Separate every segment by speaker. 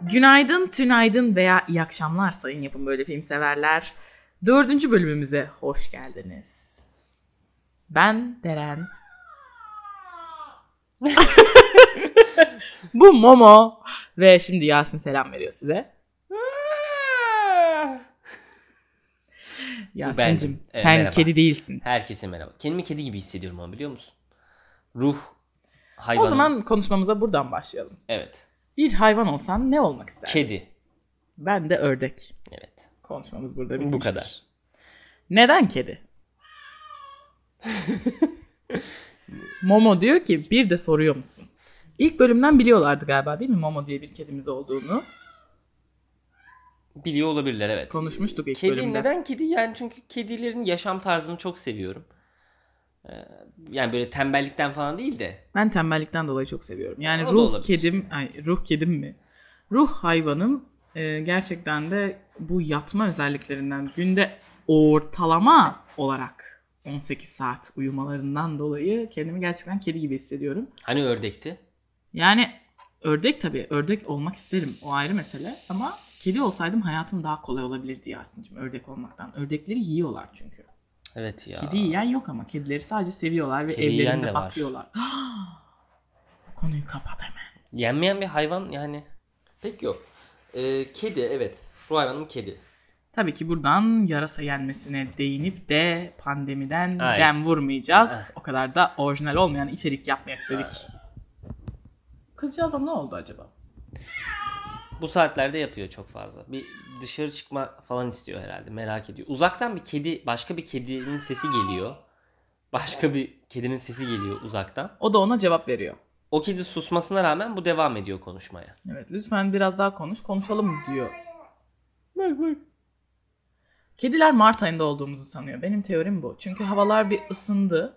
Speaker 1: Günaydın, tünaydın veya iyi akşamlar sayın yapın böyle film severler. Dördüncü bölümümüze hoş geldiniz. Ben Deren. Bu Momo ve şimdi Yasin selam veriyor size. Yasin'cim
Speaker 2: Evet,
Speaker 1: sen
Speaker 2: merhaba.
Speaker 1: kedi değilsin.
Speaker 2: Herkese merhaba. Kendimi kedi gibi hissediyorum ama biliyor musun? Ruh
Speaker 1: O
Speaker 2: hayvan.
Speaker 1: zaman konuşmamıza buradan başlayalım.
Speaker 2: evet.
Speaker 1: Bir hayvan olsan ne olmak isterdin?
Speaker 2: Kedi.
Speaker 1: Ben de ördek.
Speaker 2: Evet.
Speaker 1: Konuşmamız burada bitmiştir.
Speaker 2: Bu kadar.
Speaker 1: Neden kedi? Momo diyor ki bir de soruyor musun? İlk bölümden biliyorlardı galiba değil mi Momo diye bir kedimiz olduğunu?
Speaker 2: Biliyor olabilirler evet.
Speaker 1: Konuşmuştuk ilk
Speaker 2: kedi
Speaker 1: bölümde.
Speaker 2: neden kedi? Yani çünkü kedilerin yaşam tarzını çok seviyorum. Ee, Yani böyle tembellikten falan değil de.
Speaker 1: Ben tembellikten dolayı çok seviyorum. Yani
Speaker 2: O da
Speaker 1: ruh
Speaker 2: olabilir.
Speaker 1: kedim, ay, ruh kedim mi? Ruh hayvanım e, gerçekten de bu yatma özelliklerinden günde ortalama olarak 18 saat uyumalarından dolayı kendimi gerçekten kedi gibi hissediyorum.
Speaker 2: Hani ördekti?
Speaker 1: Yani ördek tabii. Ördek olmak isterim. O ayrı mesele. Ama kedi olsaydım hayatım daha kolay olabilirdi Yasin'cim ördek olmaktan. Ördekleri yiyorlar çünkü.
Speaker 2: Evet ya.
Speaker 1: Kedi yiyen yok ama kedileri sadece seviyorlar ve
Speaker 2: Kedi yiyen
Speaker 1: evlerinde
Speaker 2: de var.
Speaker 1: bakıyorlar. Konuyu kapat hemen.
Speaker 2: Yenmeyen bir hayvan yani. Pek yok. Ee, kedi evet. Ruh hayvanım kedi.
Speaker 1: Tabii ki buradan yarasa yenmesine değinip de pandemiden
Speaker 2: Ay.
Speaker 1: dem vurmayacağız.
Speaker 2: Ah.
Speaker 1: O kadar da orijinal olmayan içerik yapmayak dedik. Kızcağıza ne oldu acaba?
Speaker 2: Bu saatlerde yapıyor çok fazla. Bir dışarı çıkma falan istiyor herhalde. Merak ediyor. Uzaktan bir kedi, başka bir kedinin sesi geliyor. Başka bir kedinin sesi geliyor uzaktan.
Speaker 1: O da ona cevap veriyor.
Speaker 2: O kedi susmasına rağmen bu devam ediyor konuşmaya.
Speaker 1: Evet lütfen biraz daha konuş konuşalım diyor.
Speaker 2: Bak bak.
Speaker 1: Kediler Mart ayında olduğumuzu sanıyor. Benim teorim bu. Çünkü havalar bir ısındı.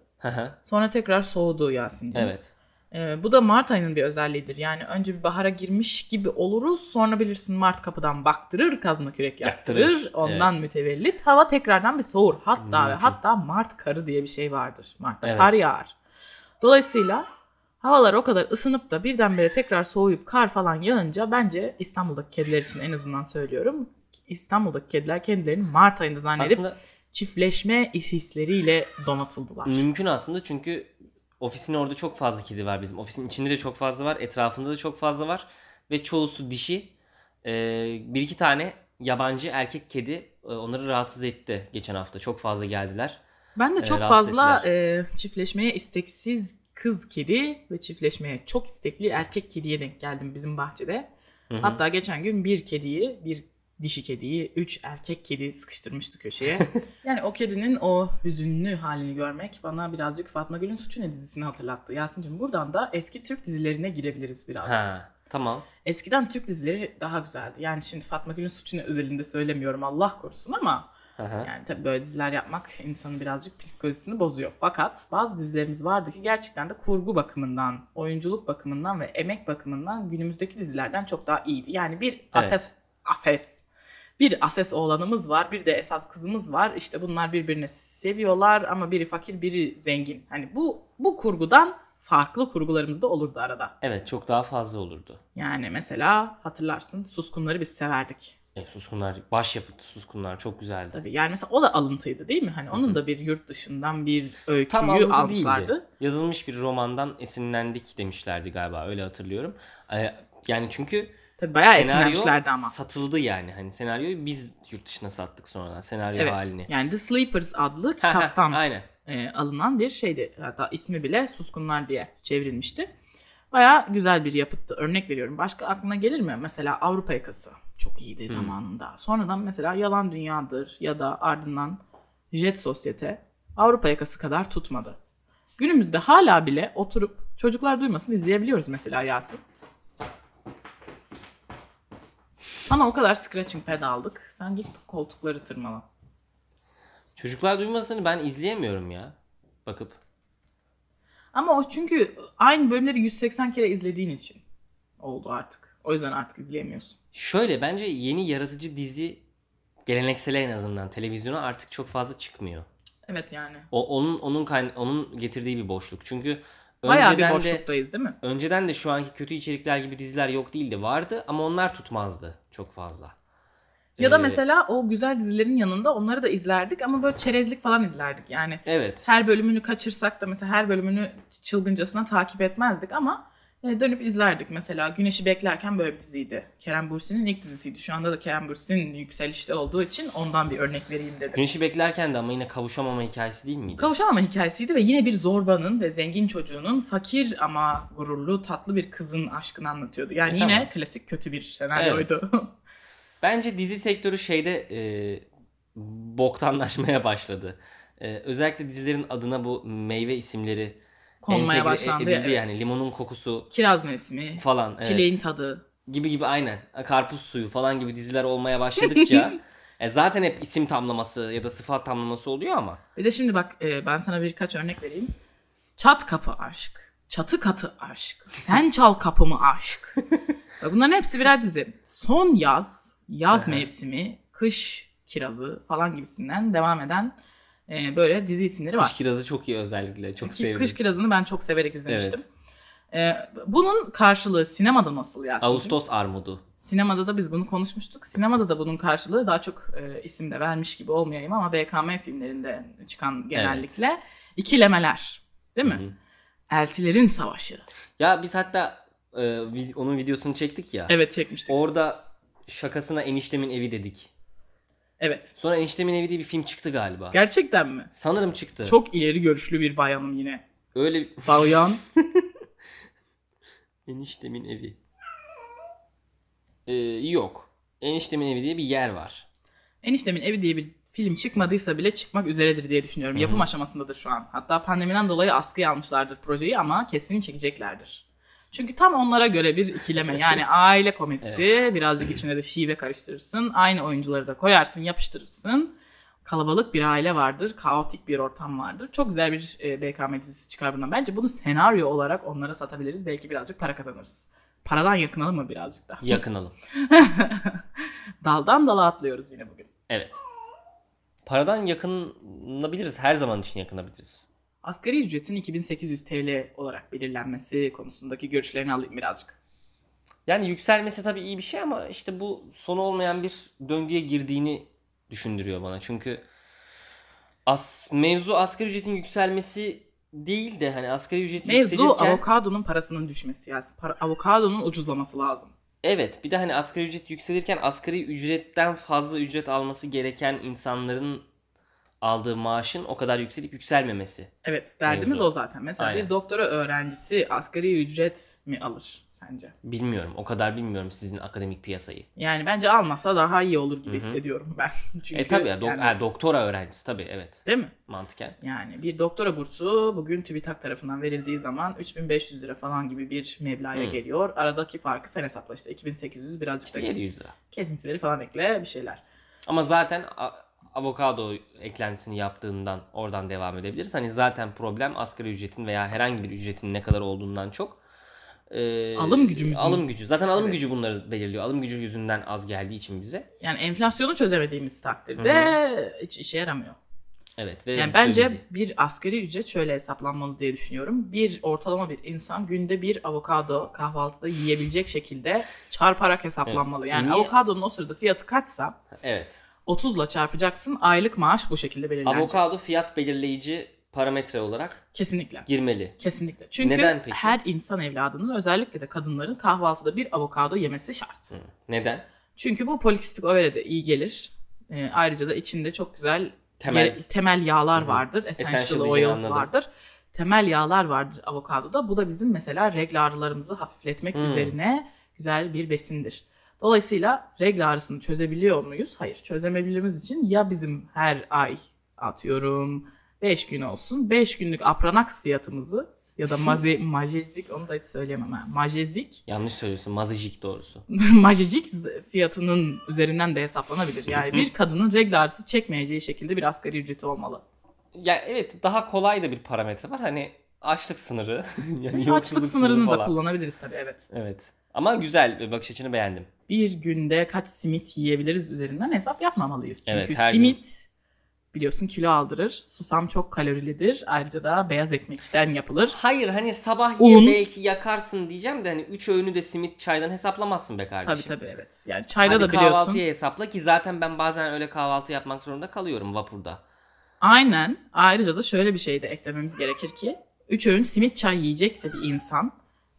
Speaker 1: Sonra tekrar soğudu Yasin'cim.
Speaker 2: evet.
Speaker 1: Ee, bu da Mart ayının bir özelliğidir. Yani önce bir bahara girmiş gibi oluruz. Sonra bilirsin Mart kapıdan baktırır, kazma kürek yaktırır.
Speaker 2: Yaktırır,
Speaker 1: Ondan
Speaker 2: evet.
Speaker 1: mütevellit hava tekrardan bir soğur. Hatta ve
Speaker 2: Mümkün.
Speaker 1: hatta Mart karı diye bir şey vardır. Mart'ta
Speaker 2: Evet.
Speaker 1: kar yağar. Dolayısıyla havalar o kadar ısınıp da birdenbire tekrar soğuyup kar falan yağınca bence İstanbul'daki kediler için en azından söylüyorum. İstanbul'daki kediler kendilerini Mart ayında zannedip
Speaker 2: Aslında
Speaker 1: çiftleşme hisleriyle donatıldılar.
Speaker 2: mümkün aslında çünkü ofisin orada çok fazla kedi var bizim. Ofisin içinde de çok fazla var. Etrafında da çok fazla var. Ve çoğusu dişi. Ee, bir iki tane yabancı erkek kedi e, onları rahatsız etti geçen hafta. Çok fazla geldiler.
Speaker 1: Ben de
Speaker 2: E,
Speaker 1: çok
Speaker 2: rahatsız
Speaker 1: fazla e, çiftleşmeye isteksiz kız kedi ve çiftleşmeye çok istekli erkek kediye denk geldim bizim bahçede.
Speaker 2: Hı hı.
Speaker 1: Hatta geçen gün bir kediyi, bir dişi kediyi, üç erkek kedi sıkıştırmıştı köşeye. yani o kedinin o hüzünlü halini görmek bana birazcık Fatma Gül'ün Suçu Ne dizisini hatırlattı. Yasin'cim buradan da eski Türk dizilerine girebiliriz birazcık.
Speaker 2: Ha, tamam.
Speaker 1: Eskiden Türk dizileri daha güzeldi. Yani şimdi Fatma Gül'ün Suçu'nu özelinde söylemiyorum Allah korusun ama
Speaker 2: Aha.
Speaker 1: yani tabii böyle diziler yapmak insanın birazcık psikolojisini bozuyor. Fakat bazı dizilerimiz vardı ki gerçekten de kurgu bakımından, oyunculuk bakımından ve emek bakımından günümüzdeki dizilerden çok daha iyiydi. Yani bir ases, ases, bir ases oğlanımız var, bir de esas kızımız var. İşte bunlar birbirini seviyorlar ama biri fakir, biri zengin. Hani bu bu kurgudan farklı kurgularımız da olurdu arada.
Speaker 2: Evet çok daha fazla olurdu.
Speaker 1: Yani mesela hatırlarsın Suskunları biz severdik.
Speaker 2: E, suskunlar, başyapıtı suskunlar çok güzeldi.
Speaker 1: Tabii yani mesela o da alıntıydı değil mi? Hani onun da bir yurt dışından bir öyküyü
Speaker 2: Tam alıntı
Speaker 1: almışlardı.
Speaker 2: değildi. Yazılmış bir romandan esinlendik demişlerdi galiba öyle hatırlıyorum. E, Yani çünkü
Speaker 1: Tabii bayağı
Speaker 2: senaryo
Speaker 1: esinlenmişlerdi ama.
Speaker 2: satıldı yani. Hani senaryoyu biz yurt dışına sattık sonradan senaryo
Speaker 1: Evet.
Speaker 2: halini.
Speaker 1: Yani The Sleepers adlı
Speaker 2: Ha, ha,
Speaker 1: kitaptan
Speaker 2: Aynen.
Speaker 1: e, alınan bir şeydi. Hatta ismi bile Suskunlar diye çevrilmişti. Bayağı güzel bir yapıttı. Örnek veriyorum. Başka aklına gelir mi? Mesela Avrupa Yakası. Çok iyiydi
Speaker 2: Hmm.
Speaker 1: zamanında. Sonradan mesela Yalan Dünya'dır ya da ardından Jet Sosyete Avrupa Yakası kadar tutmadı. Günümüzde hala bile oturup çocuklar duymasın izleyebiliyoruz mesela Yasin. Ama o kadar scratching pad aldık. Sen git koltukları tırmala.
Speaker 2: Çocuklar duymasını ben izleyemiyorum ya. Bakıp.
Speaker 1: Ama o çünkü aynı bölümleri 180 kere izlediğin için oldu artık. O yüzden artık izleyemiyorsun.
Speaker 2: Şöyle bence yeni yaratıcı dizi geleneksel en azından televizyona artık çok fazla çıkmıyor.
Speaker 1: Evet yani.
Speaker 2: O onun onun kayn- onun getirdiği bir boşluk. Çünkü
Speaker 1: Bayağı bir
Speaker 2: Önceden de-
Speaker 1: boşluktayız değil mi?
Speaker 2: Önceden de şu anki kötü içerikler gibi diziler yok değildi. Vardı ama onlar tutmazdı çok fazla.
Speaker 1: Ya da
Speaker 2: Ee,
Speaker 1: mesela o güzel dizilerin yanında onları da izlerdik ama böyle çerezlik falan izlerdik. Yani
Speaker 2: Evet.
Speaker 1: her bölümünü kaçırsak da mesela her bölümünü çılgıncasına takip etmezdik ama e, dönüp izlerdik. Mesela Güneşi Beklerken böyle bir diziydi. Kerem Bürsin'in ilk dizisiydi. Şu anda da Kerem Bürsin yükselişte olduğu için ondan bir örnek vereyim dedim.
Speaker 2: Güneşi beklerken de ama yine kavuşamama hikayesi değil miydi?
Speaker 1: Kavuşamama hikayesiydi ve yine bir zorbanın ve zengin çocuğunun fakir ama gururlu tatlı bir kızın aşkını anlatıyordu. Yani
Speaker 2: E,
Speaker 1: yine
Speaker 2: tamam.
Speaker 1: klasik kötü bir senaryoydu.
Speaker 2: Bence dizi sektörü şeyde e, boktanlaşmaya başladı. E, özellikle dizilerin adına bu meyve isimleri
Speaker 1: Konmaya
Speaker 2: entegre
Speaker 1: başlandı.
Speaker 2: edildi
Speaker 1: evet.
Speaker 2: yani limonun kokusu
Speaker 1: Kiraz mevsimi,
Speaker 2: falan evet.
Speaker 1: çileğin tadı.
Speaker 2: gibi gibi aynen karpuz suyu falan gibi diziler olmaya başladıkça e, zaten hep isim tamlaması ya da sıfat tamlaması oluyor ama
Speaker 1: Bir de şimdi bak e, ben sana birkaç örnek vereyim. Çat kapı aşk. Çatı katı aşk. Sen çal kapımı aşk. Bak Bunların hepsi birer dizi. Son yaz, yaz
Speaker 2: Aha.
Speaker 1: mevsimi, kış kirazı falan gibisinden devam eden e, böyle dizi isimleri var.
Speaker 2: kış kirazı çok iyi özellikle çok
Speaker 1: Ki
Speaker 2: sevdim.
Speaker 1: kış kirazını ben çok severek izlemiştim. E, bunun karşılığı sinemada nasıl ya?
Speaker 2: Ağustos armudu.
Speaker 1: Sinemada da biz bunu konuşmuştuk. Sinemada da bunun karşılığı daha çok e, isim de vermiş gibi olmayayım ama BKM filmlerinde çıkan genellikle ikilemeler değil mi?
Speaker 2: Hı hı.
Speaker 1: Eltilerin Savaşı.
Speaker 2: Ya biz hatta e, vi- onun videosunu çektik ya.
Speaker 1: Evet çekmiştik.
Speaker 2: Orada şakasına eniştemin evi dedik.
Speaker 1: evet.
Speaker 2: Sonra eniştemin evi diye bir film çıktı galiba.
Speaker 1: Gerçekten mi?
Speaker 2: Sanırım çıktı.
Speaker 1: Çok ileri görüşlü bir bayanım yine.
Speaker 2: Öyle bir-
Speaker 1: Bayan.
Speaker 2: eniştemin evi. Ee, yok. Eniştemin evi diye bir yer var.
Speaker 1: Eniştemin Evi diye bir film çıkmadıysa bile çıkmak üzeredir diye düşünüyorum.
Speaker 2: Hı hı.
Speaker 1: Yapım aşamasındadır şu an. Hatta pandemiden dolayı askıya almışlardır projeyi ama kesin çekeceklerdir. Çünkü tam onlara göre bir ikileme. Yani aile komedisi, birazcık içine de şive karıştırırsın. Aynı oyuncuları da koyarsın, yapıştırırsın. Kalabalık bir aile vardır, kaotik bir ortam vardır. Çok güzel bir e, BKM dizisi çıkar bundan. Bence bunu senaryo olarak onlara satabiliriz. Belki birazcık para kazanırız. Paradan yakınalım mı birazcık daha?
Speaker 2: Yakınalım.
Speaker 1: Daldan dala atlıyoruz yine bugün.
Speaker 2: Evet. Paradan yakınabiliriz. Her zaman için yakınabiliriz.
Speaker 1: Asgari ücretin 2800 TL olarak belirlenmesi konusundaki görüşlerini alayım birazcık.
Speaker 2: Yani yükselmesi tabii iyi bir şey ama işte bu sonu olmayan bir döngüye girdiğini düşündürüyor bana. Çünkü as mevzu asgari ücretin yükselmesi değil de hani asgari ücret
Speaker 1: Mevzu
Speaker 2: yükselirken
Speaker 1: avokadonun parasının düşmesi lazım. Para- avokadonun ucuzlaması lazım.
Speaker 2: evet bir de hani asgari ücret yükselirken asgari ücretten fazla ücret alması gereken insanların aldığı maaşın o kadar yükselip yükselmemesi.
Speaker 1: Evet derdimiz
Speaker 2: Mevzu.
Speaker 1: o zaten. Mesela
Speaker 2: Aynen.
Speaker 1: bir doktora öğrencisi asgari ücret mi alır sence?
Speaker 2: Bilmiyorum. O kadar bilmiyorum sizin akademik piyasayı.
Speaker 1: Yani bence almasa daha iyi olur gibi
Speaker 2: Hı hı.
Speaker 1: hissediyorum ben. Çünkü
Speaker 2: e tabii ya, dok-
Speaker 1: yani-
Speaker 2: ha, doktora öğrencisi tabii evet.
Speaker 1: değil mi?
Speaker 2: Mantıken.
Speaker 1: Yani bir doktora bursu bugün TÜBİTAK tarafından verildiği zaman 3500 lira falan gibi bir meblağa
Speaker 2: Hı.
Speaker 1: geliyor. Aradaki farkı sen hesapla işte 2800 birazcık
Speaker 2: İşte
Speaker 1: da
Speaker 2: 700 lira.
Speaker 1: kesintileri falan ekle bir şeyler.
Speaker 2: Ama zaten a- avokado eklentisini yaptığından oradan devam edebiliriz. Hani zaten problem asgari ücretin veya herhangi bir ücretin ne kadar olduğundan çok e,
Speaker 1: Alım gücümüzün-
Speaker 2: alım gücü. Zaten alım
Speaker 1: Evet.
Speaker 2: gücü bunları belirliyor. Alım gücü yüzünden az geldiği için bize.
Speaker 1: Yani enflasyonu çözemediğimiz takdirde hiç işe yaramıyor.
Speaker 2: Evet ve
Speaker 1: Yani bence
Speaker 2: dövizi.
Speaker 1: bir asgari ücret şöyle hesaplanmalı diye düşünüyorum. Bir ortalama bir insan günde bir avokado kahvaltıda yiyebilecek şekilde çarparak hesaplanmalı.
Speaker 2: Evet.
Speaker 1: Yani
Speaker 2: Niye?
Speaker 1: avokadonun o sırada fiyatı kaçsa
Speaker 2: evet.
Speaker 1: 30'la çarpacaksın aylık maaş bu şekilde belirlenecek.
Speaker 2: Avokado fiyat belirleyici parametre olarak
Speaker 1: Kesinlikle.
Speaker 2: girmeli.
Speaker 1: Kesinlikle. Çünkü
Speaker 2: Neden peki?
Speaker 1: her insan evladının özellikle de kadınların kahvaltıda bir avokado yemesi şart.
Speaker 2: Hı. Neden?
Speaker 1: Çünkü bu polikistik öyle de iyi gelir. Ee, ayrıca da içinde çok güzel
Speaker 2: Temel
Speaker 1: Ge- temel yağlar
Speaker 2: Hı hı.
Speaker 1: vardır.
Speaker 2: Essential
Speaker 1: Essential,
Speaker 2: diyeceğini
Speaker 1: oils
Speaker 2: anladım.
Speaker 1: vardır. Temel yağlar vardır avokadoda. Bu da bizim mesela regl ağrılarımızı hafifletmek
Speaker 2: Hmm.
Speaker 1: üzerine güzel bir besindir. Dolayısıyla regl ağrısını çözebiliyor muyuz? Hayır. Çözemediğimiz için ya bizim her ay atıyorum 5 gün olsun. 5 günlük apranax fiyatımızı ya da maze, majezik onu da hiç söyleyemem. ha. Majezik
Speaker 2: yanlış söylüyorsun. Mazijik doğrusu.
Speaker 1: majecik fiyatının üzerinden de hesaplanabilir. Yani bir kadının regl ağrısı çekmeyeceği şekilde bir asgari ücreti olmalı.
Speaker 2: Ya evet daha kolay da bir parametre var. Hani açlık sınırı yani
Speaker 1: Yani
Speaker 2: yoksulluk
Speaker 1: Açlık sınırını
Speaker 2: sınırı
Speaker 1: da
Speaker 2: falan.
Speaker 1: kullanabiliriz tabii evet.
Speaker 2: Evet. Ama güzel bir bakış açını beğendim.
Speaker 1: Bir günde kaç simit yiyebiliriz üzerinden hesap yapmamalıyız. Çünkü
Speaker 2: Evet, her
Speaker 1: simit biliyorsun kilo aldırır. Susam çok kalorilidir. Ayrıca da beyaz ekmekten yapılır.
Speaker 2: Hayır hani sabah ye
Speaker 1: Un.
Speaker 2: belki yakarsın diyeceğim de hani 3 öğünü de simit çaydan hesaplamazsın be
Speaker 1: Tabii
Speaker 2: kardeşim.
Speaker 1: tabii evet. Yani çayda
Speaker 2: şey. Hadi
Speaker 1: da biliyorsun.
Speaker 2: kahvaltıya hesapla ki zaten ben bazen öyle kahvaltı yapmak zorunda kalıyorum vapurda.
Speaker 1: Aynen. Ayrıca da şöyle bir şey de eklememiz gerekir ki üç öğün simit çay yiyecekse bir insan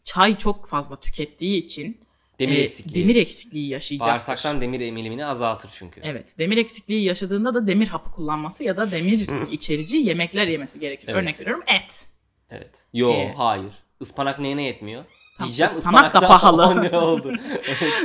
Speaker 1: çay çok fazla tükettiği için
Speaker 2: Demir
Speaker 1: e,
Speaker 2: eksikliği.
Speaker 1: demir eksikliği yaşayacaktır.
Speaker 2: Bağırsaktan demir emilimini azaltır çünkü.
Speaker 1: Evet. Demir eksikliği yaşadığında da demir hapı kullanması ya da demir içerici yemekler yemesi gerekir.
Speaker 2: Evet.
Speaker 1: Örnek veriyorum et.
Speaker 2: Evet. Yo
Speaker 1: Ee,
Speaker 2: hayır. Ispanak neyine yetmiyor?
Speaker 1: Tam
Speaker 2: Diyeceğim
Speaker 1: ıspanak da
Speaker 2: ıspanak da
Speaker 1: pahalı.
Speaker 2: pahalı. ne oldu?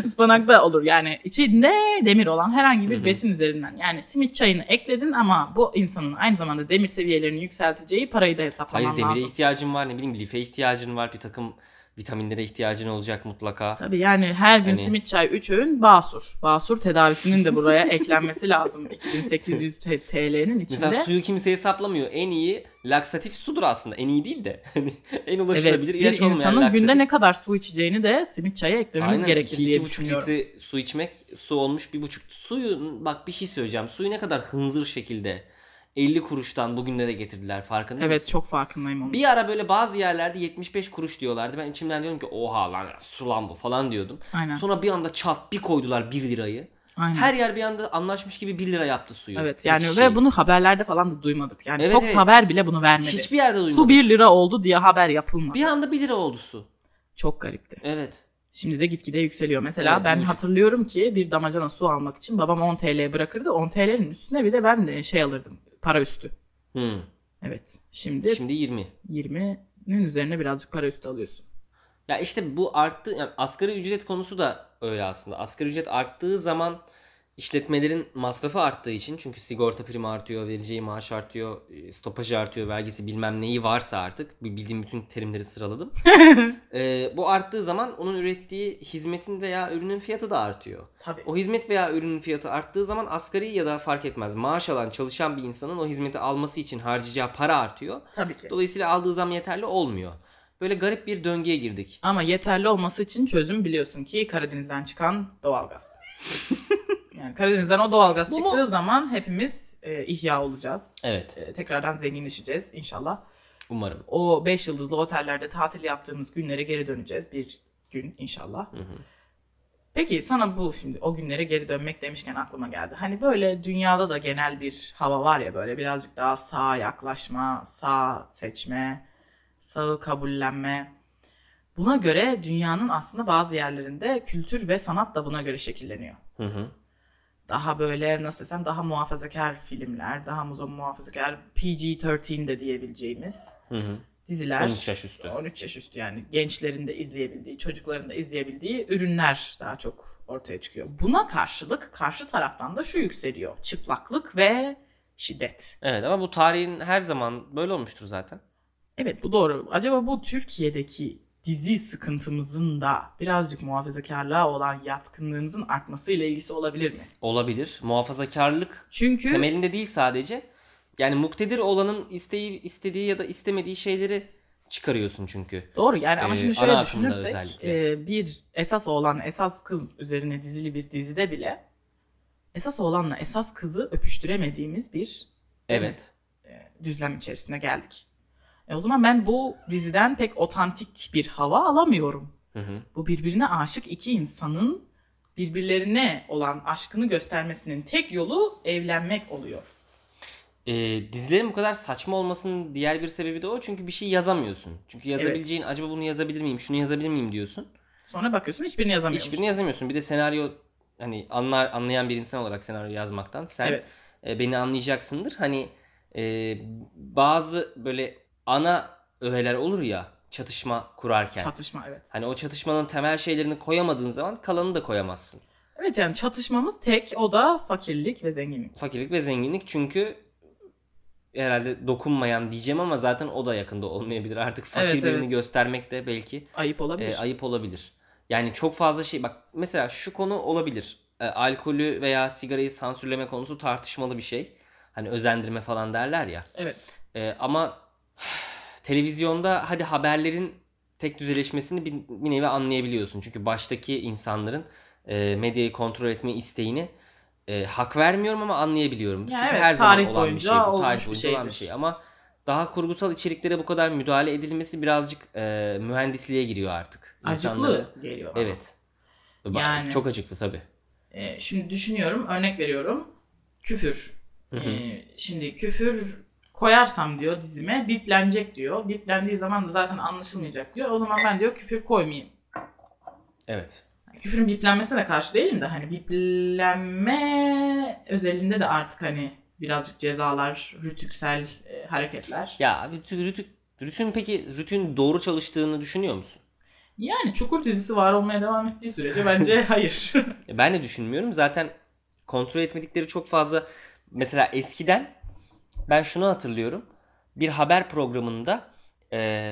Speaker 1: Ispanak da olur yani içinde demir olan herhangi
Speaker 2: Hı hı.
Speaker 1: bir besin üzerinden. Yani simit çayını ekledin ama bu insanın aynı zamanda demir seviyelerini yükselteceği parayı da hesaplaman
Speaker 2: Hayır demire
Speaker 1: lazım.
Speaker 2: ihtiyacın var ne bileyim life ihtiyacın var bir takım vitaminlere ihtiyacın olacak mutlaka.
Speaker 1: Tabii yani her gün
Speaker 2: Hani-
Speaker 1: simit çay 3 öğün basur. Basur tedavisinin de buraya eklenmesi lazım 2800 T- TL'nin içinde.
Speaker 2: Mesela suyu kimse hesaplamıyor. En iyi laksatif sudur aslında. En iyi değil de. Hani en
Speaker 1: evet,
Speaker 2: ulaşılabilir
Speaker 1: bir
Speaker 2: ilaç olmayan
Speaker 1: insanın
Speaker 2: laksatif.
Speaker 1: günde ne kadar su içeceğini de simit çaya eklememiz
Speaker 2: Aynen
Speaker 1: gerekir
Speaker 2: iki,
Speaker 1: diye
Speaker 2: iki buçuk
Speaker 1: düşünüyorum.
Speaker 2: litre su içmek su olmuş bir buçuk. Suyun bak bir şey söyleyeceğim. Suyu ne kadar hınzır şekilde 50 kuruştan bugünlere getirdiler farkında
Speaker 1: Evet
Speaker 2: mısın?
Speaker 1: çok farkındayım onun.
Speaker 2: Bir ara böyle bazı yerlerde 75 kuruş diyorlardı. Ben içimden diyorum ki oha lan su lan bu falan diyordum.
Speaker 1: Aynen.
Speaker 2: Sonra bir anda çat bir koydular 1 lirayı.
Speaker 1: aynen.
Speaker 2: Her yer bir anda anlaşmış gibi 1 lira yaptı suyu.
Speaker 1: Evet
Speaker 2: Her
Speaker 1: yani ve
Speaker 2: şey.
Speaker 1: bunu haberlerde falan da duymadık. Yani
Speaker 2: Evet,
Speaker 1: Fox
Speaker 2: evet.
Speaker 1: haber bile bunu vermedi.
Speaker 2: hiçbir yerde duymadım.
Speaker 1: Su 1 lira oldu diye haber yapılmadı.
Speaker 2: Bir anda 1 lira oldu su.
Speaker 1: Çok garipti.
Speaker 2: Evet.
Speaker 1: Şimdi de gitgide yükseliyor. Mesela
Speaker 2: Evet,
Speaker 1: ben
Speaker 2: bu-
Speaker 1: hatırlıyorum ki bir damacana su almak için babam 10 TL bırakırdı. 10 TL'nin üstüne bir de ben de şey alırdım. Para üstü.
Speaker 2: Hmm.
Speaker 1: Evet. Şimdi,
Speaker 2: Şimdi 20.
Speaker 1: 20'nin üzerine birazcık para üstü alıyorsun.
Speaker 2: Ya işte bu arttı. Yani asgari ücret konusu da öyle aslında. Asgari ücret arttığı zaman işletmelerin masrafı arttığı için çünkü sigorta primi artıyor, vereceği maaş artıyor, e, stopajı artıyor, vergisi bilmem neyi varsa artık. Bu Bildiğim bütün terimleri sıraladım. Ee, bu arttığı zaman onun ürettiği hizmetin veya ürünün fiyatı da artıyor.
Speaker 1: Tabii.
Speaker 2: O hizmet veya ürünün fiyatı arttığı zaman asgari ya da fark etmez maaş alan çalışan bir insanın o hizmeti alması için harcayacağı para artıyor.
Speaker 1: Tabii ki.
Speaker 2: Dolayısıyla aldığı zam yeterli olmuyor. Böyle garip bir döngüye girdik.
Speaker 1: Ama yeterli olması için çözüm biliyorsun ki Karadeniz'den çıkan doğalgaz. yani Karadeniz'den o doğalgaz
Speaker 2: Bu mu-
Speaker 1: çıktığı zaman hepimiz e, ihya olacağız.
Speaker 2: Evet
Speaker 1: E, tekrardan zenginleşeceğiz inşallah.
Speaker 2: umarım.
Speaker 1: O 5 yıldızlı otellerde tatil yaptığımız günlere geri döneceğiz bir gün inşallah.
Speaker 2: Hı hı.
Speaker 1: Peki sana bu şimdi o günlere geri dönmek demişken aklıma geldi. Hani böyle dünyada da genel bir hava var ya böyle birazcık daha sağa yaklaşma, sağ seçme, sağı kabullenme. Buna göre dünyanın aslında bazı yerlerinde kültür ve sanat da buna göre şekilleniyor.
Speaker 2: Hı hı.
Speaker 1: Daha böyle nasıl desem daha muhafazakar filmler, daha muzo- muhafazakar PG-13 de diyebileceğimiz
Speaker 2: Hı hı.
Speaker 1: diziler.
Speaker 2: 13 yaş üstü.
Speaker 1: 13 yaş üstü yani gençlerin de izleyebildiği, çocukların da izleyebildiği ürünler daha çok ortaya çıkıyor. Buna karşılık karşı taraftan da şu yükseliyor. Çıplaklık ve şiddet.
Speaker 2: Evet ama bu tarihin her zaman böyle olmuştur zaten.
Speaker 1: Evet bu doğru. Acaba bu Türkiye'deki dizi sıkıntımızın da birazcık muhafazakarlığa olan yatkınlığımızın artmasıyla ilgisi olabilir mi?
Speaker 2: Olabilir. Muhafazakarlık
Speaker 1: Çünkü
Speaker 2: temelinde değil sadece. Yani muktedir olanın isteği, istediği ya da istemediği şeyleri çıkarıyorsun çünkü.
Speaker 1: Doğru yani ama
Speaker 2: Ee,
Speaker 1: şimdi
Speaker 2: ana
Speaker 1: şöyle
Speaker 2: akımda
Speaker 1: düşünürsek
Speaker 2: özellikle.
Speaker 1: e, bir esas oğlan esas kız üzerine dizili bir dizide bile esas oğlanla esas kızı öpüştüremediğimiz bir
Speaker 2: Evet.
Speaker 1: e, düzlem içerisine geldik. E, o zaman ben bu diziden pek otantik bir hava alamıyorum.
Speaker 2: Hı hı.
Speaker 1: Bu birbirine aşık iki insanın birbirlerine olan aşkını göstermesinin tek yolu evlenmek oluyor.
Speaker 2: Ee, dizilerin bu kadar saçma olmasının diğer bir sebebi de o. Çünkü bir şey yazamıyorsun. Çünkü yazabileceğin acaba bunu yazabilir miyim, şunu yazabilir miyim diyorsun.
Speaker 1: Sonra bakıyorsun hiçbirini yazamıyorsun.
Speaker 2: Hiçbirini yazamıyorsun. Bir de senaryo hani anlar anlayan bir insan olarak senaryo yazmaktan sen
Speaker 1: Evet.
Speaker 2: e, beni anlayacaksındır. Hani e, bazı böyle ana öğeler olur ya çatışma kurarken.
Speaker 1: Çatışma evet.
Speaker 2: hani o çatışmanın temel şeylerini koyamadığın zaman kalanını da koyamazsın.
Speaker 1: Evet yani çatışmamız tek o da fakirlik ve zenginlik.
Speaker 2: Fakirlik ve zenginlik çünkü herhalde dokunmayan diyeceğim ama zaten o da yakında olmayabilir. Artık fakir
Speaker 1: Evet,
Speaker 2: birini
Speaker 1: evet.
Speaker 2: göstermek de belki
Speaker 1: Ayıp olabilir.
Speaker 2: e, ayıp olabilir. Yani çok fazla şey bak mesela şu konu olabilir. E, alkolü veya sigarayı sansürleme konusu tartışmalı bir şey. Hani özendirme falan derler ya.
Speaker 1: Evet.
Speaker 2: Ee, ama televizyonda hadi haberlerin tek düzeleşmesini bir, bir nevi anlayabiliyorsun. Çünkü baştaki insanların e, medyayı kontrol etme isteğini e, hak vermiyorum ama anlayabiliyorum.
Speaker 1: Ya
Speaker 2: Çünkü
Speaker 1: evet,
Speaker 2: her zaman
Speaker 1: tarih
Speaker 2: olan bir
Speaker 1: boyunca
Speaker 2: şey bu.
Speaker 1: olmuş
Speaker 2: Tarih
Speaker 1: bir
Speaker 2: boyunca olan bir
Speaker 1: şeydir.
Speaker 2: şey. Ama daha kurgusal içeriklere bu kadar müdahale edilmesi birazcık e, mühendisliğe giriyor artık. İnsanları-
Speaker 1: Acıklı geliyor. bana.
Speaker 2: Evet.
Speaker 1: Yani-
Speaker 2: Çok acıklı tabii.
Speaker 1: Ee, şimdi düşünüyorum, örnek veriyorum. Küfür.
Speaker 2: Hı hı.
Speaker 1: Ee, şimdi küfür koyarsam diyor dizime, biplenecek diyor. Biplendiği zaman da zaten anlaşılmayacak diyor. O zaman ben diyor küfür koymayayım.
Speaker 2: Evet.
Speaker 1: Küfürün biplenmesine de karşı değilim de hani biplenme özelinde de artık hani birazcık cezalar, rütüksel e, hareketler.
Speaker 2: Ya rütün, rütün, rütün peki rütün doğru çalıştığını düşünüyor musun?
Speaker 1: Yani Çukur dizisi var olmaya devam ettiği sürece bence hayır.
Speaker 2: E, Ben de düşünmüyorum. Zaten kontrol etmedikleri çok fazla. Mesela eskiden ben şunu hatırlıyorum. Bir haber programında e,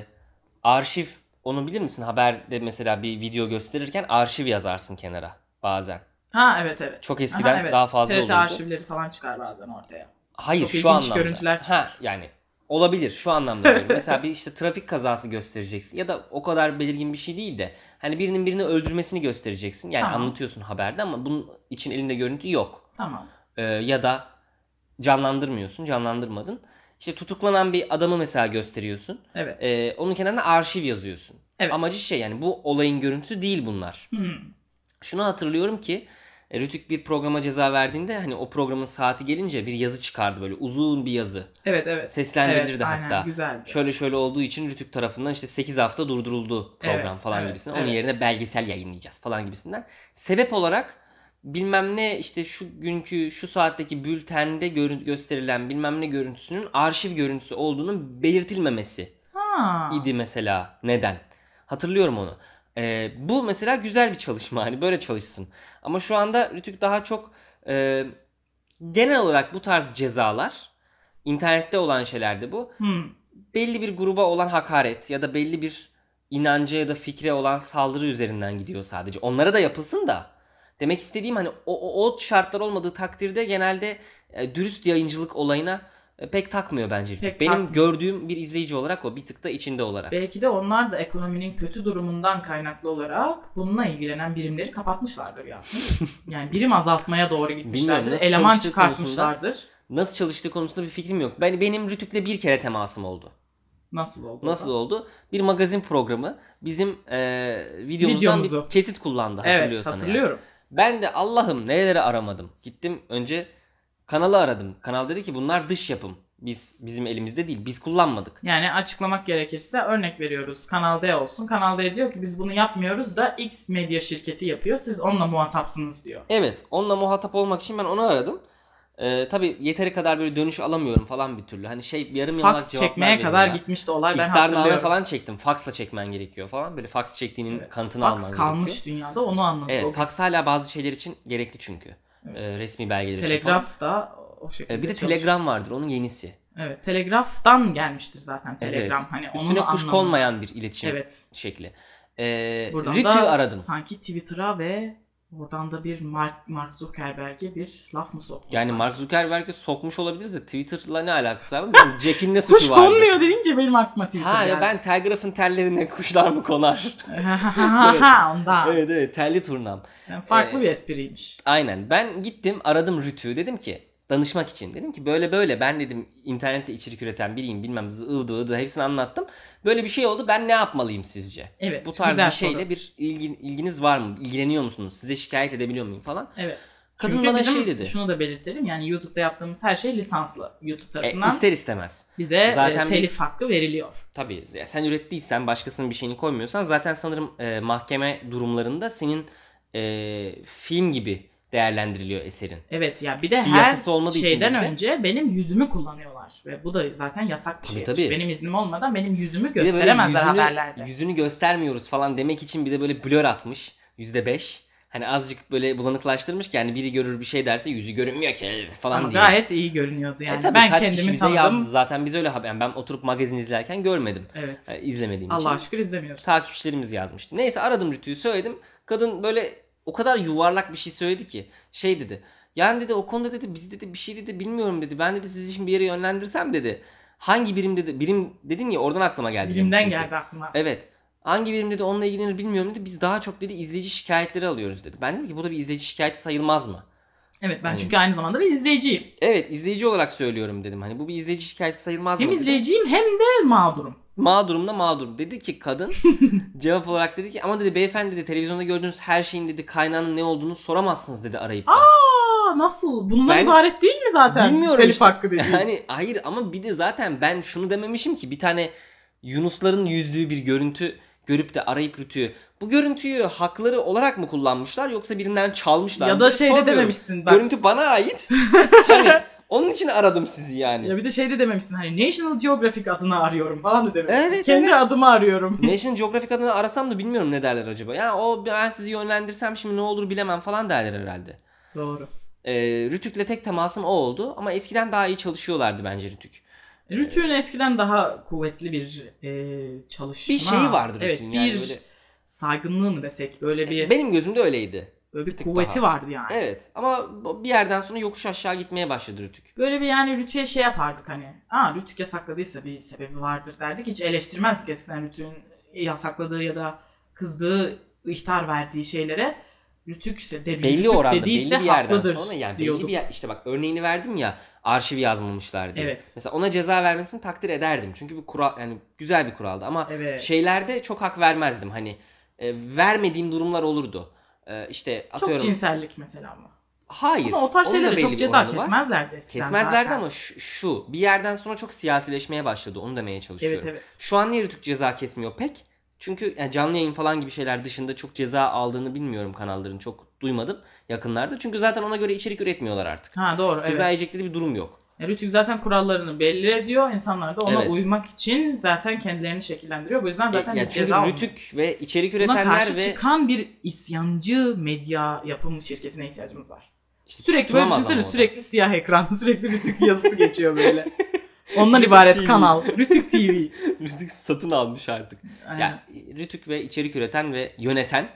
Speaker 2: arşiv, onu bilir misin? Haberde mesela bir video gösterirken arşiv yazarsın kenara bazen.
Speaker 1: ha evet evet.
Speaker 2: Çok eskiden
Speaker 1: Aha, evet.
Speaker 2: daha fazla
Speaker 1: TRT
Speaker 2: olurdu.
Speaker 1: arşivleri falan çıkar bazen ortaya.
Speaker 2: Hayır
Speaker 1: Çok
Speaker 2: şu
Speaker 1: ilginç
Speaker 2: anlamda.
Speaker 1: görüntüler
Speaker 2: ha yani olabilir şu anlamda diyorum. Mesela bir işte trafik kazası göstereceksin ya da o kadar belirgin bir şey değil de hani birinin birini öldürmesini göstereceksin. Yani
Speaker 1: Tamam.
Speaker 2: anlatıyorsun haberde ama bunun için elinde görüntü yok.
Speaker 1: Tamam.
Speaker 2: Ee, ya da canlandırmıyorsun, canlandırmadın. İşte tutuklanan bir adamı mesela gösteriyorsun.
Speaker 1: Evet.
Speaker 2: Ee, onun kenarına arşiv yazıyorsun.
Speaker 1: Evet.
Speaker 2: Amacı şey yani bu olayın görüntüsü değil bunlar.
Speaker 1: Hmm.
Speaker 2: Şunu hatırlıyorum ki e, Rütük bir programa ceza verdiğinde hani o programın saati gelince bir yazı çıkardı böyle uzun bir yazı.
Speaker 1: Evet evet.
Speaker 2: Seslendirilirdi
Speaker 1: evet,
Speaker 2: hatta.
Speaker 1: Aynen, güzeldi.
Speaker 2: Şöyle şöyle olduğu için Rütük tarafından işte 8 hafta durduruldu program
Speaker 1: Evet,
Speaker 2: falan
Speaker 1: evet,
Speaker 2: gibisinden. Onun
Speaker 1: evet.
Speaker 2: yerine belgesel yayınlayacağız falan gibisinden. Sebep olarak bilmem ne işte şu günkü şu saatteki bültende görün- gösterilen bilmem ne görüntüsünün arşiv görüntüsü olduğunun belirtilmemesi
Speaker 1: Ha.
Speaker 2: idi mesela. Neden? Hatırlıyorum onu. Ee, bu mesela güzel bir çalışma hani böyle çalışsın. Ama şu anda Rütük daha çok e, genel olarak bu tarz cezalar internette olan şeylerde bu
Speaker 1: Hmm.
Speaker 2: belli bir gruba olan hakaret ya da belli bir inanca ya da fikre olan saldırı üzerinden gidiyor sadece. Onlara da yapılsın da. Demek istediğim hani o, o, o şartlar olmadığı takdirde genelde e, dürüst yayıncılık olayına e, pek takmıyor bence.
Speaker 1: Pek
Speaker 2: Benim
Speaker 1: takmıyor.
Speaker 2: gördüğüm bir izleyici olarak o bir tık da içinde olarak.
Speaker 1: Belki de onlar da ekonominin kötü durumundan kaynaklı olarak bununla ilgilenen birimleri kapatmışlardır ya. Yani birim azaltmaya doğru
Speaker 2: Bilmiyorum,
Speaker 1: gitmişlerdir.
Speaker 2: nasıl
Speaker 1: Eleman
Speaker 2: çalıştığı
Speaker 1: çıkartmışlardır.
Speaker 2: Nasıl çalıştığı konusunda bir fikrim yok. Ben benim Rütük'le bir kere temasım oldu.
Speaker 1: Nasıl oldu?
Speaker 2: Nasıl
Speaker 1: oldu?
Speaker 2: oldu? Bir magazin programı bizim e, videomuzdan
Speaker 1: Videomuzu.
Speaker 2: bir kesit kullandı
Speaker 1: Evet
Speaker 2: hatırlıyorsan eğer.
Speaker 1: hatırlıyorum.
Speaker 2: Ben de Allah'ım neleri aramadım. Gittim önce kanalı aradım. Kanal dedi ki bunlar dış yapım. Biz bizim elimizde değil. Biz kullanmadık.
Speaker 1: Yani açıklamak gerekirse örnek veriyoruz. Kanal D olsun. Kanal D diyor ki biz bunu yapmıyoruz da X medya şirketi yapıyor. Siz onunla muhatapsınız diyor.
Speaker 2: Evet onunla muhatap olmak için ben onu aradım. Ee, tabii yeteri kadar böyle dönüş alamıyorum falan bir türlü. Hani şey yarım yamalak
Speaker 1: Fax
Speaker 2: cevaplar
Speaker 1: çekmeye
Speaker 2: veriyorlar.
Speaker 1: kadar gitmişti olay ben
Speaker 2: İhtarname
Speaker 1: hatırlıyorum.
Speaker 2: falan çektim. Faxla çekmen gerekiyor falan. Böyle fax çektiğinin
Speaker 1: Evet,
Speaker 2: kanıtını
Speaker 1: Fax
Speaker 2: alman
Speaker 1: kalmış
Speaker 2: gerekiyor.
Speaker 1: dünyada onu anladım.
Speaker 2: Evet fax hala bazı şeyler için gerekli çünkü.
Speaker 1: Evet.
Speaker 2: Ee, resmi belgeler için falan.
Speaker 1: Telegraf da o şekilde
Speaker 2: Ee, bir de
Speaker 1: çalışıyor.
Speaker 2: telegram vardır onun yenisi.
Speaker 1: Evet, telegraftan gelmiştir zaten
Speaker 2: Evet,
Speaker 1: telegram.
Speaker 2: evet.
Speaker 1: Hani onun
Speaker 2: Üstüne kuş
Speaker 1: anlamı-
Speaker 2: konmayan bir iletişim
Speaker 1: Evet.
Speaker 2: şekli. Ee,
Speaker 1: Buradan
Speaker 2: Rütü'yü
Speaker 1: da
Speaker 2: aradım.
Speaker 1: Sanki Twitter'a ve oradan da bir Mark, Mark Zuckerberg'e bir laf mı soktu?
Speaker 2: Yani
Speaker 1: sanki?
Speaker 2: Mark Zuckerberg'i sokmuş olabiliriz de Twitter'la ne alakası var? Benim Jack'in ne
Speaker 1: Kuş
Speaker 2: suçu vardı?
Speaker 1: konmuyor deyince benim aklıma Twitter
Speaker 2: Ha ya
Speaker 1: geldi.
Speaker 2: ben telgrafın tellerine kuşlar mı konar?
Speaker 1: Ha ondan.
Speaker 2: evet evet telli turnam.
Speaker 1: Yani farklı
Speaker 2: Ee,
Speaker 1: bir espriymiş.
Speaker 2: Aynen ben gittim aradım Rütü'yü dedim ki danışmak için dedim ki böyle böyle ben dedim internette içerik üreten biriyim bilmem ıvdı ıvdı hepsini anlattım. Böyle bir şey oldu ben ne yapmalıyım sizce?
Speaker 1: Evet.
Speaker 2: Bu tarz
Speaker 1: güzel
Speaker 2: bir şeyle
Speaker 1: soru.
Speaker 2: bir ilgin, ilginiz var mı? İlgileniyor musunuz? Size şikayet edebiliyor muyum falan. E,
Speaker 1: Evet.
Speaker 2: Kadın
Speaker 1: Çünkü
Speaker 2: bana
Speaker 1: bizim-
Speaker 2: şey dedi.
Speaker 1: Şunu da belirtelim. Yani YouTube'da yaptığımız her şey lisanslı. YouTube
Speaker 2: E,
Speaker 1: tarafından
Speaker 2: ister istemez.
Speaker 1: bize
Speaker 2: zaten
Speaker 1: e,
Speaker 2: bir-
Speaker 1: telif hakkı veriliyor.
Speaker 2: Tabii ya sen ürettiysen başkasının bir şeyini koymuyorsan zaten sanırım e, mahkeme durumlarında senin e, film gibi değerlendiriliyor eserin.
Speaker 1: Evet ya bir de
Speaker 2: Bir
Speaker 1: her
Speaker 2: yasası olmadığı için
Speaker 1: şeyden
Speaker 2: bizde.
Speaker 1: önce benim yüzümü kullanıyorlar ve bu da zaten yasak bir
Speaker 2: Tabii,
Speaker 1: şey.
Speaker 2: tabii.
Speaker 1: Benim iznim olmadan benim yüzümü
Speaker 2: Bir de böyle
Speaker 1: gösteremezler
Speaker 2: yüzünü-
Speaker 1: haberlerde.
Speaker 2: Yüzünü göstermiyoruz falan demek için bir de böyle blur atmış %5. Hani azıcık böyle bulanıklaştırmış ki yani biri görür bir şey derse yüzü görünmüyor ki falan
Speaker 1: Ama
Speaker 2: diye.
Speaker 1: gayet iyi görünüyordu yani.
Speaker 2: e tabii
Speaker 1: ben
Speaker 2: kaç kişi
Speaker 1: kendimi
Speaker 2: bize
Speaker 1: tanıdım.
Speaker 2: yazdı zaten biz öyle haber. yani ben oturup magazin izlerken görmedim.
Speaker 1: Evet.
Speaker 2: E, izlemediğim için.
Speaker 1: Allah şükür izlemiyoruz.
Speaker 2: takipçilerimiz yazmıştı. Neyse aradım Rütü'yü söyledim. Kadın böyle o kadar yuvarlak bir şey söyledi ki şey dedi. Yani dedi o konuda dedi biz dedi bir şey dedi bilmiyorum dedi. Ben dedi sizi şimdi bir yere yönlendirsem dedi. Hangi birim dedi birim dedin ya oradan aklıma geldi. benim
Speaker 1: Bilimden
Speaker 2: çünkü.
Speaker 1: geldi aklıma.
Speaker 2: Evet. Hangi birim dedi onunla ilgilenir bilmiyorum dedi. Biz daha çok dedi izleyici şikayetleri alıyoruz dedi. Ben dedim ki bu da bir izleyici şikayeti sayılmaz mı?
Speaker 1: Evet ben
Speaker 2: Hani-
Speaker 1: çünkü aynı zamanda bir izleyiciyim.
Speaker 2: Evet izleyici olarak söylüyorum dedim. Hani bu bir izleyici şikayeti sayılmaz
Speaker 1: Hem
Speaker 2: mı?
Speaker 1: izleyiciyim hem de mağdurum.
Speaker 2: Mağdurum da mağdur. Dedi ki kadın cevap olarak dedi ki ama dedi beyefendi dedi televizyonda gördüğünüz her şeyin dedi kaynağının ne olduğunu soramazsınız dedi arayıp. da.
Speaker 1: Aa nasıl? Bundan
Speaker 2: Ben-
Speaker 1: ibaret değil mi zaten?
Speaker 2: Bilmiyorum
Speaker 1: Telif
Speaker 2: işte.
Speaker 1: hakkı dediğin.
Speaker 2: Yani hayır ama bir de zaten ben şunu dememişim ki bir tane Yunusların yüzdüğü bir görüntü görüp de arayıp rütüyü. Bu görüntüyü hakları olarak mı kullanmışlar yoksa birinden çalmışlar
Speaker 1: ya
Speaker 2: mı
Speaker 1: da
Speaker 2: diye
Speaker 1: şey de
Speaker 2: sormuyorum.
Speaker 1: dememişsin bak.
Speaker 2: Görüntü bana ait. hani onun için aradım sizi yani.
Speaker 1: Ya bir de şey de dememişsin hani National Geographic adını arıyorum falan da dememişsin.
Speaker 2: Evet,
Speaker 1: Kendi
Speaker 2: evet.
Speaker 1: adımı arıyorum.
Speaker 2: National Geographic adını arasam da bilmiyorum ne derler acaba. Ya o ben sizi yönlendirsem şimdi ne olur bilemem falan derler herhalde.
Speaker 1: Doğru.
Speaker 2: Ee, Rütük'le tek temasım o oldu ama eskiden daha iyi çalışıyorlardı bence Rütük.
Speaker 1: E, Rütü'nün eskiden daha kuvvetli bir e, çalışma.
Speaker 2: Bir şeyi vardı
Speaker 1: Evet
Speaker 2: Rütük'ün yani
Speaker 1: bir
Speaker 2: böyle.
Speaker 1: saygınlığı mı desek böyle bir,
Speaker 2: Benim gözümde öyleydi.
Speaker 1: böyle bir
Speaker 2: tık
Speaker 1: kuvveti
Speaker 2: daha.
Speaker 1: vardı yani.
Speaker 2: Evet ama bu- bir yerden sonra yokuş aşağı gitmeye başladı Rütük.
Speaker 1: Böyle bir yani Rütü'ye şey yapardık hani. Aa Rütük yasakladıysa bir sebebi vardır derdik. Hiç eleştirmezdik eskiden Rütü'nün yasakladığı ya da kızdığı ihtar verdiği şeylere. Rütük ise dedi.
Speaker 2: Belli
Speaker 1: E, Rütük
Speaker 2: oranda belli
Speaker 1: dediyse
Speaker 2: bir yerden
Speaker 1: haklıdır
Speaker 2: sonra yani belli
Speaker 1: diyorduk.
Speaker 2: bir yer, işte bak örneğini verdim ya arşiv yazmamışlar diye.
Speaker 1: Evet.
Speaker 2: Mesela ona ceza vermesini takdir ederdim. Çünkü bir kural yani güzel bir kuraldı ama
Speaker 1: Evet.
Speaker 2: şeylerde çok hak vermezdim. Hani e, vermediğim durumlar olurdu. E, işte
Speaker 1: Çok
Speaker 2: atıyorum.
Speaker 1: cinsellik mesela ama.
Speaker 2: Hayır.
Speaker 1: Ama o tarz
Speaker 2: onun da
Speaker 1: şeylere
Speaker 2: belli
Speaker 1: çok
Speaker 2: bir
Speaker 1: ceza
Speaker 2: oranı var.
Speaker 1: kesmezlerdi eskiden
Speaker 2: Kesmezlerdi
Speaker 1: zaten.
Speaker 2: ama şu, şu bir yerden sonra çok siyasileşmeye başladı. Onu demeye çalışıyorum.
Speaker 1: Evet evet.
Speaker 2: Şu an niye Rütük ceza kesmiyor pek? Çünkü yani canlı yayın falan gibi şeyler dışında çok ceza aldığını bilmiyorum kanalların. Çok duymadım yakınlarda. Çünkü zaten ona göre içerik üretmiyorlar artık.
Speaker 1: Ha doğru evet.
Speaker 2: Ceza yiyecekleri bir durum yok.
Speaker 1: Ya E, Rütük zaten kurallarını belli ediyor. İnsanlar da ona
Speaker 2: Evet.
Speaker 1: uymak için zaten kendilerini şekillendiriyor. Bu yüzden zaten
Speaker 2: E, yani
Speaker 1: bir
Speaker 2: çünkü
Speaker 1: ceza olmuyor.
Speaker 2: Rütük ve içerik
Speaker 1: Buna
Speaker 2: üretenler
Speaker 1: karşı
Speaker 2: ve
Speaker 1: çıkan bir isyancı medya yapımı şirketine ihtiyacımız var.
Speaker 2: işte
Speaker 1: Sürekli böyle
Speaker 2: tutunamaz ama
Speaker 1: düşünsene
Speaker 2: o da.
Speaker 1: sürekli siyah ekran, sürekli Rütük yazısı geçiyor böyle. Ondan
Speaker 2: Rütük
Speaker 1: ibaret
Speaker 2: TV.
Speaker 1: kanal. Rütük TV.
Speaker 2: Rütük satın almış artık.
Speaker 1: Aynen.
Speaker 2: Ya Rütük ve içerik üreten ve yöneten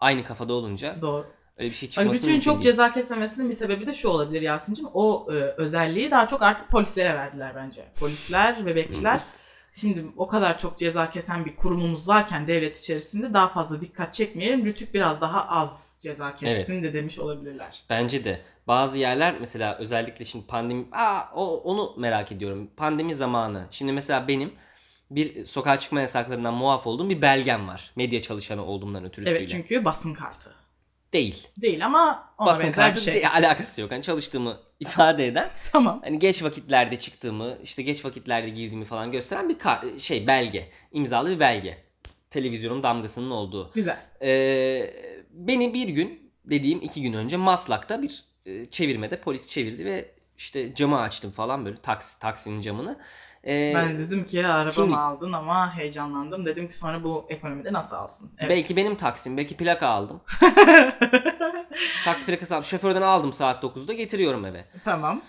Speaker 2: aynı kafada olunca
Speaker 1: Doğru.
Speaker 2: öyle bir şey çıkması
Speaker 1: Hani Rütük'ün
Speaker 2: mümkün
Speaker 1: çok
Speaker 2: değil.
Speaker 1: ceza kesmemesinin bir sebebi de şu olabilir Yasin'cim. O e, özelliği daha çok artık polislere verdiler bence. Polisler ve bekçiler. Şimdi o kadar çok ceza kesen bir kurumumuz varken devlet içerisinde daha fazla dikkat çekmeyelim. Rütük biraz daha az ceza kessin
Speaker 2: Evet.
Speaker 1: de demiş olabilirler.
Speaker 2: Bence de bazı yerler mesela özellikle şimdi pandemi aa o, onu merak ediyorum. Pandemi zamanı. Şimdi mesela benim bir sokağa çıkma yasaklarından muaf olduğum bir belgem var. Medya çalışanı olduğumdan ötürü
Speaker 1: Evet
Speaker 2: söyle.
Speaker 1: çünkü basın kartı.
Speaker 2: değil.
Speaker 1: Değil ama ona
Speaker 2: Basın
Speaker 1: benzer
Speaker 2: kartı
Speaker 1: bir şey.
Speaker 2: değil, alakası yok. Hani çalıştığımı ifade eden,
Speaker 1: Tamam.
Speaker 2: hani geç vakitlerde çıktığımı, işte geç vakitlerde girdiğimi falan gösteren bir ka- şey belge, imzalı bir belge. Televizyonun damgasının olduğu.
Speaker 1: Güzel.
Speaker 2: Ee, beni bir gün dediğim iki gün önce Maslak'ta bir e, çevirmede polis çevirdi ve işte camı açtım falan böyle taksi taksinin camını. Ee,
Speaker 1: Ben dedim ki arabamı
Speaker 2: kimlik-
Speaker 1: aldın ama heyecanlandım. Dedim ki sonra bu ekonomide nasıl alsın? Evet.
Speaker 2: Belki benim taksim, belki plaka aldım. Taksi plakası aldım. Şoförden aldım saat 9'da getiriyorum eve.
Speaker 1: tamam.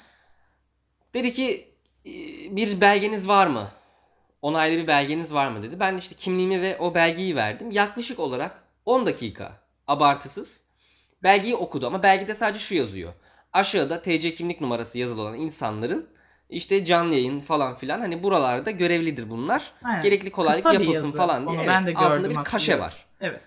Speaker 2: Dedi ki "E, bir belgeniz var mı? Onaylı bir belgeniz var mı dedi. Ben de işte kimliğimi ve o belgeyi verdim. Yaklaşık olarak 10 dakika abartısız belgeyi okudu ama belgede sadece şu yazıyor. Aşağıda TC kimlik numarası yazılı olan insanların işte canlı yayın falan filan hani buralarda görevlidir bunlar.
Speaker 1: Aynen.
Speaker 2: Gerekli kolaylık
Speaker 1: Kısa bir
Speaker 2: yapılsın
Speaker 1: yazı.
Speaker 2: falan diye.
Speaker 1: Onu
Speaker 2: Evet,
Speaker 1: ben de
Speaker 2: altında
Speaker 1: gördüm
Speaker 2: bir kaşe
Speaker 1: aslında.
Speaker 2: var.
Speaker 1: Evet.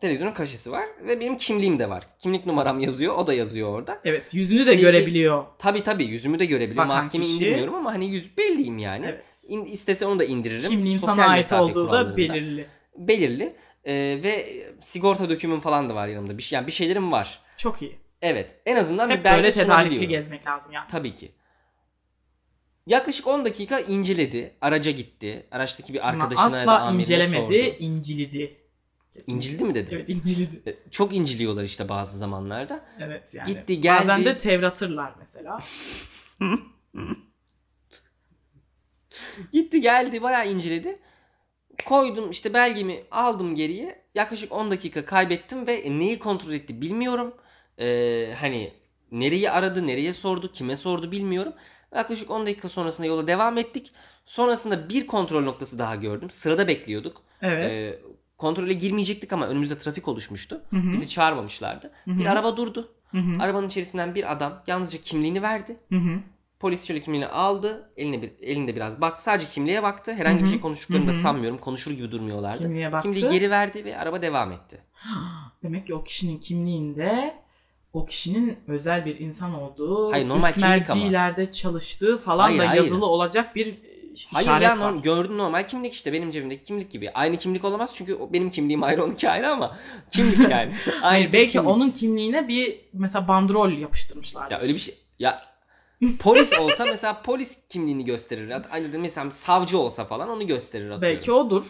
Speaker 2: Televizyonun kaşesi var ve benim kimliğim de var. Kimlik numaram yazıyor, o da yazıyor orada.
Speaker 1: Evet. Yüzünü de
Speaker 2: Silgi-
Speaker 1: görebiliyor.
Speaker 2: Tabi tabi yüzümü de görebiliyor.
Speaker 1: Bakan
Speaker 2: Maskemi
Speaker 1: kişi.
Speaker 2: indirmiyorum ama hani yüz belliyim yani.
Speaker 1: Evet.
Speaker 2: İn, istese onu da indiririm.
Speaker 1: Kimliğin
Speaker 2: Sosyal
Speaker 1: sana ait
Speaker 2: mesafe
Speaker 1: olduğu da
Speaker 2: kurallarında.
Speaker 1: belirli.
Speaker 2: Belirli. Ee, ve sigorta dökümüm falan da var yanımda. Bir şey, yani bir şeylerim var.
Speaker 1: Çok iyi.
Speaker 2: Evet. En azından
Speaker 1: Hep
Speaker 2: bir belge
Speaker 1: böyle tedarikli
Speaker 2: sunabiliyorum.
Speaker 1: gezmek lazım ya.
Speaker 2: Tabii ki. Yaklaşık 10 dakika inceledi. Araca gitti. Araçtaki bir
Speaker 1: Ama
Speaker 2: arkadaşına ya da
Speaker 1: asla
Speaker 2: amirine
Speaker 1: incelemedi,
Speaker 2: sordu.
Speaker 1: incilidi. Kesinlikle.
Speaker 2: İncildi mi dedi?
Speaker 1: Evet incilidi.
Speaker 2: Ee, Çok inciliyorlar işte bazı zamanlarda.
Speaker 1: Evet yani.
Speaker 2: Gitti, geldi.
Speaker 1: Bazen de tevratırlar mesela.
Speaker 2: Gitti geldi bayağı inceledi. Koydum işte belgemi aldım geriye. Yaklaşık 10 dakika kaybettim ve neyi kontrol etti bilmiyorum. Ee, hani nereyi aradı, nereye sordu, kime sordu bilmiyorum. Yaklaşık 10 dakika sonrasında yola devam ettik. Sonrasında bir kontrol noktası daha gördüm. Sırada bekliyorduk.
Speaker 1: Evet.
Speaker 2: Ee, kontrole girmeyecektik ama önümüzde trafik oluşmuştu.
Speaker 1: Hı hı,
Speaker 2: Bizi çağırmamışlardı.
Speaker 1: hı
Speaker 2: Ee, Bir
Speaker 1: hı,
Speaker 2: araba durdu.
Speaker 1: hı hı,
Speaker 2: Arabanın içerisinden bir adam yalnızca kimliğini verdi.
Speaker 1: hı hı.
Speaker 2: Polis şöyle kimliğini aldı. Eline bir, elinde biraz baktı. Sadece kimliğe baktı. Herhangi
Speaker 1: Hı
Speaker 2: bir
Speaker 1: hı.
Speaker 2: şey konuştuklarını da
Speaker 1: Hı hı.
Speaker 2: sanmıyorum. Konuşur gibi durmuyorlardı.
Speaker 1: Kimliğe baktı.
Speaker 2: Kimliği geri verdi ve araba devam etti.
Speaker 1: Demek ki o kişinin kimliğinde o kişinin özel bir insan olduğu,
Speaker 2: Hayır, normal
Speaker 1: üst
Speaker 2: kimlik ama.
Speaker 1: mercilerde çalıştığı falan
Speaker 2: Hayır,
Speaker 1: da
Speaker 2: hayır.
Speaker 1: yazılı olacak bir
Speaker 2: Hayır
Speaker 1: işaret
Speaker 2: ya
Speaker 1: var.
Speaker 2: norm, gördüğün normal kimlik işte benim cebimdeki kimlik gibi. Aynı kimlik olamaz çünkü o- benim kimliğim ayrı onunki ayrı ama kimlik yani. Aynı
Speaker 1: Hayır,
Speaker 2: tip
Speaker 1: belki
Speaker 2: kimlik.
Speaker 1: onun kimliğine bir mesela bandrol yapıştırmışlar.
Speaker 2: Ya öyle bir şey ya polis olsa mesela polis kimliğini gösterir. At- Aynı da mesela savcı olsa falan onu gösterir atıyorum.
Speaker 1: belki odur.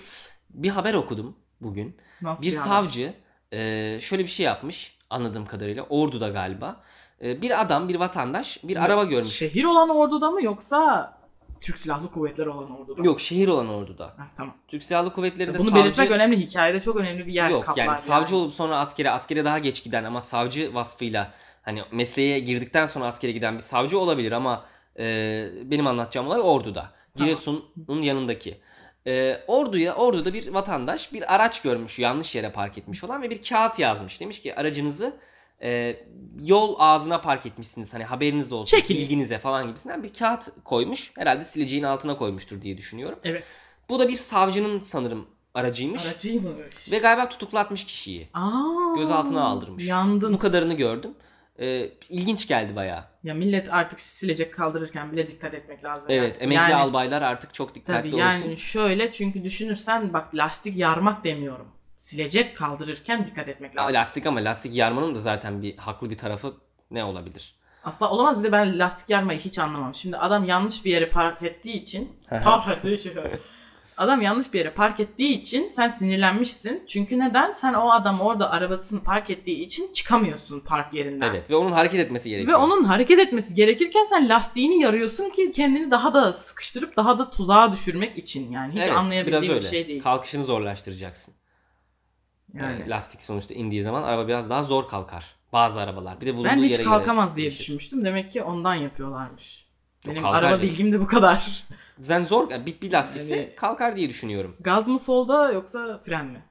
Speaker 2: Bir haber okudum bugün.
Speaker 1: Nasıl
Speaker 2: Bir
Speaker 1: yani?
Speaker 2: savcı e, şöyle bir şey yapmış anladığım kadarıyla Ordu'da galiba. E, bir adam bir vatandaş bir
Speaker 1: Yok,
Speaker 2: araba görmüş.
Speaker 1: Şehir olan orduda mı yoksa Türk Silahlı Kuvvetleri olan orduda mı?
Speaker 2: Yok şehir olan Ordu'da.
Speaker 1: Ha, tamam.
Speaker 2: Türk Silahlı Kuvvetleri'nde
Speaker 1: Bunu
Speaker 2: savcı...
Speaker 1: belirtmek önemli. Hikayede çok önemli bir yer
Speaker 2: Yok
Speaker 1: kaplar.
Speaker 2: yani savcı olup sonra askere, askere daha geç giden ama savcı vasfıyla hani mesleğe girdikten sonra askere giden bir savcı olabilir ama e, benim anlatacağım olay Ordu'da.
Speaker 1: Tamam.
Speaker 2: Giresun'un yanındaki. E, Ordu'ya Ordu'da bir vatandaş bir araç görmüş yanlış yere park etmiş olan ve bir kağıt yazmış. Demiş ki aracınızı e, yol ağzına park etmişsiniz hani haberiniz olsun
Speaker 1: Çekilin.
Speaker 2: bilginize falan gibisinden bir kağıt koymuş. Herhalde sileceğin altına koymuştur diye düşünüyorum.
Speaker 1: Evet.
Speaker 2: Bu da bir savcının sanırım aracıymış.
Speaker 1: Aracıymış.
Speaker 2: Ve galiba tutuklatmış kişiyi.
Speaker 1: Aa,
Speaker 2: Gözaltına aldırmış.
Speaker 1: Yandın.
Speaker 2: Bu kadarını gördüm. Ee, ilginç geldi bayağı.
Speaker 1: Ya millet artık silecek kaldırırken bile dikkat etmek lazım.
Speaker 2: Evet
Speaker 1: Yani.
Speaker 2: emekli
Speaker 1: Yani-
Speaker 2: albaylar artık çok dikkatli
Speaker 1: Tabii yani
Speaker 2: olsun.
Speaker 1: şöyle çünkü düşünürsen bak lastik yarmak demiyorum. Silecek kaldırırken dikkat etmek
Speaker 2: Ya,
Speaker 1: lazım.
Speaker 2: Lastik ama lastik yarmanın da zaten bir haklı bir tarafı ne olabilir?
Speaker 1: Aslında olamaz bir de ben lastik yarmayı hiç anlamam. Şimdi adam yanlış bir yere park ettiği için park ettiği şey. Adam yanlış bir yere park ettiği için sen sinirlenmişsin. Çünkü neden? Sen o adam orada arabasını park ettiği için çıkamıyorsun park yerinden.
Speaker 2: evet ve onun hareket etmesi
Speaker 1: Ve
Speaker 2: gerekiyor.
Speaker 1: onun hareket etmesi gerekirken sen lastiğini yarıyorsun ki kendini daha da sıkıştırıp daha da tuzağa düşürmek için. Yani hiç
Speaker 2: Evet, biraz
Speaker 1: anlayabildiğim bir
Speaker 2: öyle.
Speaker 1: şey değil.
Speaker 2: Kalkışını zorlaştıracaksın.
Speaker 1: Yani.
Speaker 2: Ee, Lastik sonuçta indiği zaman araba biraz daha zor kalkar. Bazı arabalar. Bir de bulunduğu
Speaker 1: Ben
Speaker 2: yere
Speaker 1: hiç
Speaker 2: göre
Speaker 1: kalkamaz diye
Speaker 2: değişir.
Speaker 1: düşünmüştüm. Demek ki ondan yapıyorlarmış.
Speaker 2: Yok,
Speaker 1: Benim
Speaker 2: kalkar
Speaker 1: araba
Speaker 2: canım.
Speaker 1: bilgim de bu kadar.
Speaker 2: Yani zor yani bir, bir lastikse
Speaker 1: Yani-
Speaker 2: kalkar diye düşünüyorum.
Speaker 1: Gaz mı solda yoksa fren mi?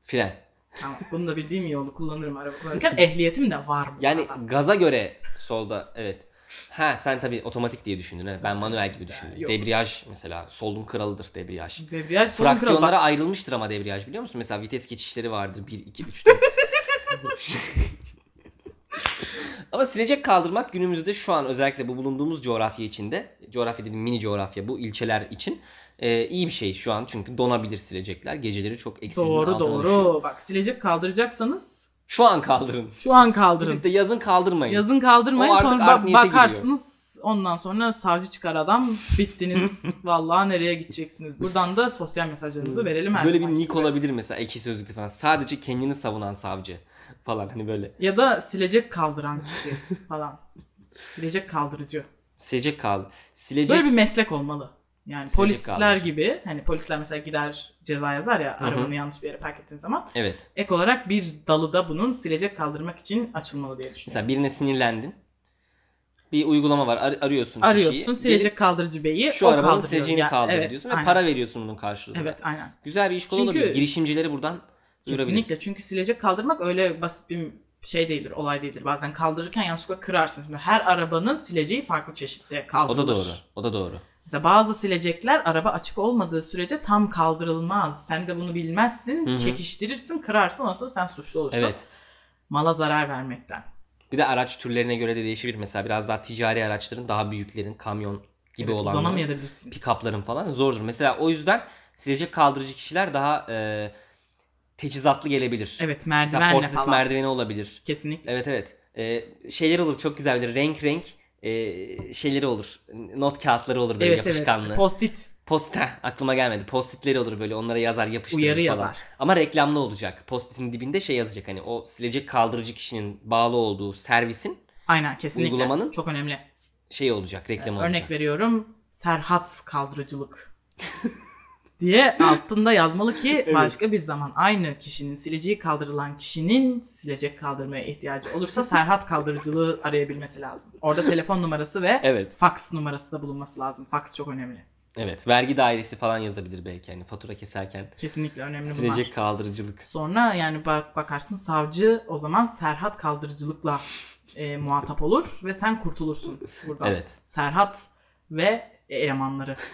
Speaker 2: Fren.
Speaker 1: Tamam. Bunu da bildiğim iyi oldu. Kullanırım araba kullanırken. Ehliyetim de var mı?
Speaker 2: Yani gaza göre solda evet. Ha sen tabii otomatik diye düşündün. ha. Ben manuel gibi düşündüm.
Speaker 1: Yok.
Speaker 2: Debriyaj mesela solun kralıdır debriyaj.
Speaker 1: Debriyaj solun kralı.
Speaker 2: Fraksiyonlara
Speaker 1: Bak,
Speaker 2: ayrılmıştır ama debriyaj biliyor musun? Mesela vites geçişleri vardır 1 2 3 4. Ama silecek kaldırmak günümüzde şu an özellikle bu bulunduğumuz coğrafya içinde, coğrafya dediğim mini coğrafya bu ilçeler için e, iyi bir şey şu an çünkü donabilir silecekler. Geceleri çok eksinin
Speaker 1: doğru
Speaker 2: altına
Speaker 1: doğru.
Speaker 2: düşüyor.
Speaker 1: Bak silecek kaldıracaksanız
Speaker 2: Şu an kaldırın.
Speaker 1: şu an
Speaker 2: Gidip
Speaker 1: kaldırın.
Speaker 2: de yazın kaldırmayın.
Speaker 1: Yazın kaldırmayın
Speaker 2: O artık
Speaker 1: sonra
Speaker 2: art
Speaker 1: bak-
Speaker 2: niyete
Speaker 1: bakarsınız. Ondan sonra savcı çıkar adam. Bittiniz. Vallahi nereye gideceksiniz? Buradan da sosyal mesajlarımızı verelim. her
Speaker 2: Böyle bir
Speaker 1: zaman.
Speaker 2: nick olabilir mesela ekşi sözlükte falan. Sadece kendini savunan savcı falan hani böyle.
Speaker 1: Ya da silecek kaldıran kişi falan. Silecek kaldırıcı.
Speaker 2: Silecek kaldı. Silecek
Speaker 1: Böyle bir meslek olmalı. Yani
Speaker 2: Silecek
Speaker 1: polisler
Speaker 2: kaldırıcı.
Speaker 1: gibi hani polisler mesela gider ceza yazar ya
Speaker 2: Hı hı.
Speaker 1: arabanı yanlış bir yere park ettiğin zaman
Speaker 2: evet.
Speaker 1: ek olarak bir dalı da bunun silecek kaldırmak için açılmalı diye düşünüyorum.
Speaker 2: Mesela birine sinirlendin. Bir uygulama var. ar- arıyorsun kişiyi.
Speaker 1: Arıyorsun
Speaker 2: Gelip
Speaker 1: silecek kaldırıcı beyi
Speaker 2: şu
Speaker 1: o
Speaker 2: arabanın
Speaker 1: kaldırıyor.
Speaker 2: sileceğini
Speaker 1: Yani
Speaker 2: kaldır
Speaker 1: evet,
Speaker 2: diyorsun ve
Speaker 1: aynen.
Speaker 2: para veriyorsun bunun karşılığında.
Speaker 1: Evet aynen.
Speaker 2: Güzel bir iş kolu
Speaker 1: Çünkü-
Speaker 2: olabilir. Girişimcileri buradan
Speaker 1: Kesinlikle
Speaker 2: duyurabiliriz.
Speaker 1: çünkü silecek kaldırmak öyle basit bir şey değildir, olay değildir. Bazen kaldırırken yanlışlıkla kırarsın. Şimdi her arabanın sileceği farklı çeşitte
Speaker 2: O
Speaker 1: kaldırılır.
Speaker 2: da doğru. O da doğru.
Speaker 1: Mesela bazı silecekler araba açık olmadığı sürece tam kaldırılmaz. Sen de bunu bilmezsin,
Speaker 2: Hı hı.
Speaker 1: çekiştirirsin, kırarsın ondan sonra sen suçlu olursun.
Speaker 2: Evet.
Speaker 1: Mala zarar vermekten.
Speaker 2: Bir de araç türlerine göre de değişebilir. Mesela biraz daha ticari araçların, daha büyüklerin, kamyon gibi
Speaker 1: evet,
Speaker 2: olanların.
Speaker 1: Uzanamayabilirsin.
Speaker 2: pikapların falan zordur. Mesela o yüzden silecek kaldırıcı kişiler daha e, teçhizatlı gelebilir.
Speaker 1: Evet,
Speaker 2: Mesela
Speaker 1: merdivenle
Speaker 2: portatif
Speaker 1: falan.
Speaker 2: merdiveni olabilir.
Speaker 1: Kesinlikle.
Speaker 2: Evet evet. E, şeyler olur çok güzel bir renk renk e, şeyleri olur. Not kağıtları olur böyle
Speaker 1: Evet
Speaker 2: yapışkanlı.
Speaker 1: evet. Post-it
Speaker 2: Post heh, aklıma gelmedi. Postitleri olur böyle onlara yazar yapıştırır
Speaker 1: uyarı
Speaker 2: falan.
Speaker 1: yazar.
Speaker 2: Ama reklamlı olacak. Postitin dibinde şey yazacak hani o silecek kaldırıcı kişinin bağlı olduğu servisin
Speaker 1: Aynen kesinlikle.
Speaker 2: Uygulamanın-
Speaker 1: Çok önemli.
Speaker 2: şey olacak reklamı
Speaker 1: Örnek
Speaker 2: olacak.
Speaker 1: veriyorum. Serhat kaldırıcılık. diye altında yazmalı ki
Speaker 2: Evet.
Speaker 1: başka bir zaman aynı kişinin sileceği kaldırılan kişinin silecek kaldırmaya ihtiyacı olursa Serhat kaldırıcılığı arayabilmesi lazım. Orada telefon numarası ve
Speaker 2: Evet.
Speaker 1: fax numarası da bulunması lazım. Fax çok önemli.
Speaker 2: Evet. Vergi dairesi falan yazabilir belki hani fatura keserken
Speaker 1: Kesinlikle önemli
Speaker 2: silecek
Speaker 1: bunlar.
Speaker 2: kaldırıcılık.
Speaker 1: Sonra yani bak bakarsın savcı o zaman Serhat kaldırıcılıkla e, muhatap olur ve sen kurtulursun buradan.
Speaker 2: Evet.
Speaker 1: Serhat ve elemanları.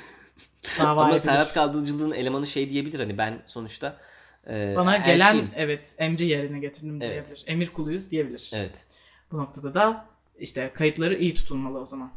Speaker 1: Dava
Speaker 2: Ama
Speaker 1: edilir.
Speaker 2: Serhat Kaldırıcılığın elemanı şey diyebilir hani ben sonuçta e,
Speaker 1: Bana
Speaker 2: elçiyim.
Speaker 1: gelen evet emri yerine getirdim
Speaker 2: Evet.
Speaker 1: diyebilir. Emir kuluyuz diyebilir.
Speaker 2: Evet.
Speaker 1: Bu noktada da işte kayıtları iyi tutulmalı o zaman.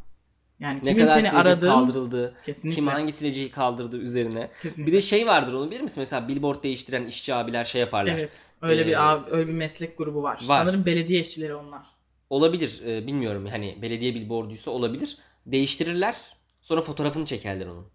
Speaker 1: Yani
Speaker 2: Ne
Speaker 1: kimin
Speaker 2: kadar
Speaker 1: seni
Speaker 2: silecek
Speaker 1: aradığın
Speaker 2: kaldırıldı,
Speaker 1: kesinlikle.
Speaker 2: kim hangi sileceği kaldırdı üzerine.
Speaker 1: kesinlikle.
Speaker 2: Bir de şey vardır onu bilir misin? Mesela billboard değiştiren işçi abiler şey yaparlar.
Speaker 1: evet, öyle
Speaker 2: Ee,
Speaker 1: bir abi- öyle bir meslek grubu var.
Speaker 2: var.
Speaker 1: Sanırım belediye işçileri onlar.
Speaker 2: Olabilir e, bilmiyorum hani belediye billboarduysa olabilir. Değiştirirler sonra fotoğrafını çekerler onun.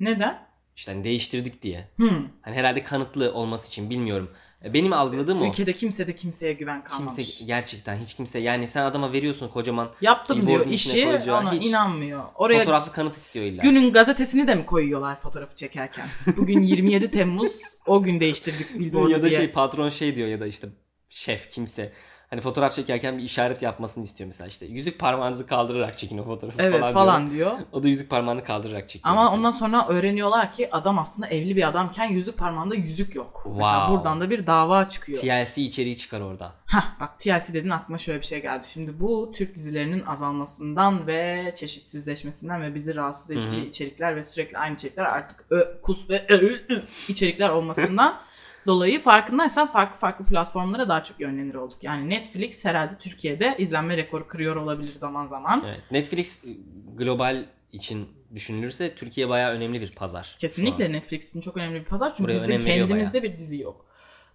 Speaker 1: Neden?
Speaker 2: İşte hani değiştirdik diye.
Speaker 1: Hmm.
Speaker 2: Hani herhalde kanıtlı olması için bilmiyorum. E, Benim algıladığım o.
Speaker 1: Ülkede kimse de kimseye güven kalmamış.
Speaker 2: Kimse gerçekten hiç kimse yani sen adama veriyorsun kocaman
Speaker 1: Yaptım diyor
Speaker 2: Billboard'un içine
Speaker 1: işi
Speaker 2: koyacağı
Speaker 1: ama
Speaker 2: hiç
Speaker 1: inanmıyor. Oraya
Speaker 2: fotoğraflı kanıt istiyor illa.
Speaker 1: günün gazetesini de mi koyuyorlar fotoğrafı çekerken? Bugün 27 Temmuz o gün değiştirdik billboardu
Speaker 2: ya da
Speaker 1: diye.
Speaker 2: şey patron şey diyor ya da işte şef kimse hani fotoğraf çekerken bir işaret yapmasını istiyor mesela işte yüzük parmağınızı kaldırarak çekin o fotoğrafı
Speaker 1: evet
Speaker 2: falan,
Speaker 1: falan,
Speaker 2: diyor.
Speaker 1: diyor.
Speaker 2: O da yüzük parmağını kaldırarak çekiyor.
Speaker 1: Ama
Speaker 2: mesela.
Speaker 1: ondan sonra öğreniyorlar ki adam aslında evli bir adamken yüzük parmağında yüzük yok. Mesela
Speaker 2: Wow.
Speaker 1: buradan da bir dava çıkıyor.
Speaker 2: TLC içeriği çıkar oradan.
Speaker 1: Hah bak TLC dedin aklıma şöyle bir şey geldi. Şimdi bu Türk dizilerinin azalmasından ve çeşitsizleşmesinden ve bizi rahatsız edici
Speaker 2: Hı hı.
Speaker 1: içerikler ve sürekli aynı içerikler artık ö, kus ve ö, ö, ö içerikler olmasından dolayı farkındaysan farklı farklı platformlara daha çok yönlenir olduk. Yani Netflix herhalde Türkiye'de izlenme rekoru kırıyor olabilir zaman zaman.
Speaker 2: Evet. Netflix e, global için düşünülürse Türkiye bayağı önemli bir pazar. şu an.
Speaker 1: Kesinlikle Netflix için çok önemli bir pazar çünkü
Speaker 2: Buraya
Speaker 1: bizim
Speaker 2: önem veriyor
Speaker 1: kendimizde bir dizi yok.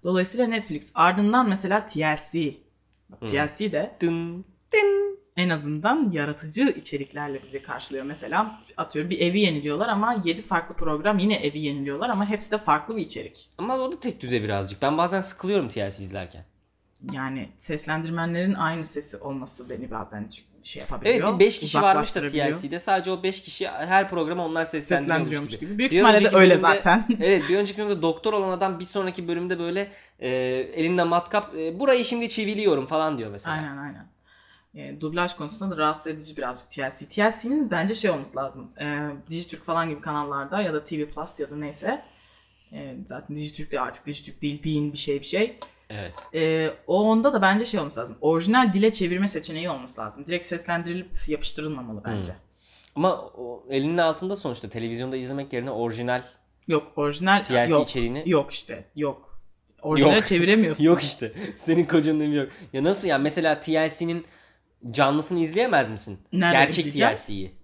Speaker 1: Dolayısıyla Netflix ardından mesela TLC. Bak,
Speaker 2: Hı.
Speaker 1: TLC de
Speaker 2: Dın.
Speaker 1: en azından yaratıcı içeriklerle bizi karşılıyor. Mesela atıyorum bir evi yeniliyorlar ama 7 farklı program yine evi yeniliyorlar ama hepsi de farklı bir içerik.
Speaker 2: Ama o da tek düze birazcık. Ben bazen sıkılıyorum TLC izlerken.
Speaker 1: Yani seslendirmenlerin aynı sesi olması beni bazen şey
Speaker 2: Evet
Speaker 1: yapabiliyor.
Speaker 2: bir 5 kişi varmış da
Speaker 1: uzaklaştırabiliyor.
Speaker 2: TLC'de. Sadece o 5 kişi her programa onlar seslendiriyormuş
Speaker 1: seslendiriyormuş
Speaker 2: gibi.
Speaker 1: gibi. Büyük
Speaker 2: Bir
Speaker 1: ihtimalle de
Speaker 2: önceki
Speaker 1: öyle
Speaker 2: bölümde-
Speaker 1: zaten.
Speaker 2: Evet bir önceki bölümde doktor olan adam bir sonraki bölümde böyle e, elinde matkap e, burayı şimdi çiviliyorum falan diyor mesela.
Speaker 1: Aynen aynen. E, dublaj konusunda da rahatsız edici birazcık TLC. TLC'nin bence şey olması lazım. E, Dijitürk falan gibi kanallarda ya da TV Plus ya da neyse. E, zaten Dijitürk de artık Dijitürk değil. Bean bir şey bir şey.
Speaker 2: Evet.
Speaker 1: Ee, o onda da bence şey olması lazım. Orijinal dile çevirme seçeneği olması lazım. Direkt seslendirilip yapıştırılmamalı bence.
Speaker 2: Hmm. Ama o elinin altında sonuçta televizyonda izlemek yerine orijinal
Speaker 1: Yok orijinal
Speaker 2: TLC
Speaker 1: yok.
Speaker 2: içeriğini
Speaker 1: Yok işte. Yok. Orijinal çeviremiyorsun.
Speaker 2: Yok işte. Senin kocanın evi yok. Ya nasıl ya? Mesela TLC'nin canlısını izleyemez misin?
Speaker 1: Nerede
Speaker 2: Gerçek
Speaker 1: izleyeceğim?
Speaker 2: TLC'yi. İnternette,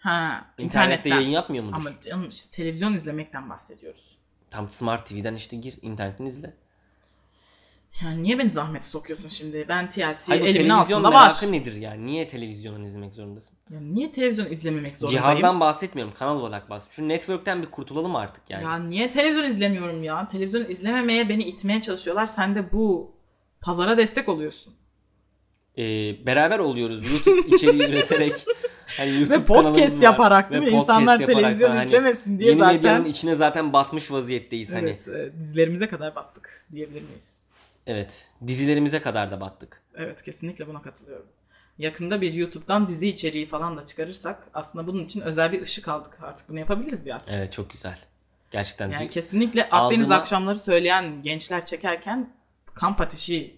Speaker 1: Ha, internetten.
Speaker 2: yayın yapmıyor mudur?
Speaker 1: Ama canım işte televizyon izlemekten bahsediyoruz.
Speaker 2: Tam Smart TV'den işte gir internetten izle.
Speaker 1: Yani niye beni zahmete sokuyorsun şimdi? Ben TLC
Speaker 2: Hayır bu
Speaker 1: elimin
Speaker 2: televizyon
Speaker 1: altında
Speaker 2: merakı
Speaker 1: var.
Speaker 2: nedir yani? Niye televizyondan izlemek zorundasın?
Speaker 1: Yani niye televizyon izlememek zorundayım?
Speaker 2: Cihazdan bahsetmiyorum. Kanal olarak bahsediyorum. Şu network'ten bir kurtulalım artık yani.
Speaker 1: Ya niye televizyon izlemiyorum ya? Televizyon izlememeye beni itmeye çalışıyorlar. Sen de bu pazara destek oluyorsun.
Speaker 2: Ee, beraber oluyoruz. YouTube içeriği üreterek. Hani YouTube
Speaker 1: Ve
Speaker 2: kanalımız
Speaker 1: podcast
Speaker 2: var.
Speaker 1: yaparak
Speaker 2: Ve
Speaker 1: değil mi?
Speaker 2: podcast
Speaker 1: İnsanlar
Speaker 2: yaparak
Speaker 1: televizyon
Speaker 2: falan. Hani
Speaker 1: izlemesin diye
Speaker 2: Yeni
Speaker 1: zaten
Speaker 2: medyanın içine zaten batmış vaziyetteyiz. Hani
Speaker 1: evet, e, dizilerimize kadar battık diyebilir miyiz?
Speaker 2: evet. Dizilerimize kadar da battık.
Speaker 1: Evet kesinlikle buna katılıyorum. Yakında bir YouTube'dan dizi içeriği falan da çıkarırsak aslında bunun için özel bir ışık aldık artık. Bunu yapabiliriz ya.
Speaker 2: Evet çok güzel. Gerçekten
Speaker 1: Yani
Speaker 2: dü-
Speaker 1: kesinlikle Akdeniz
Speaker 2: aldığıma-
Speaker 1: akşamları söyleyen gençler çekerken kamp ateşi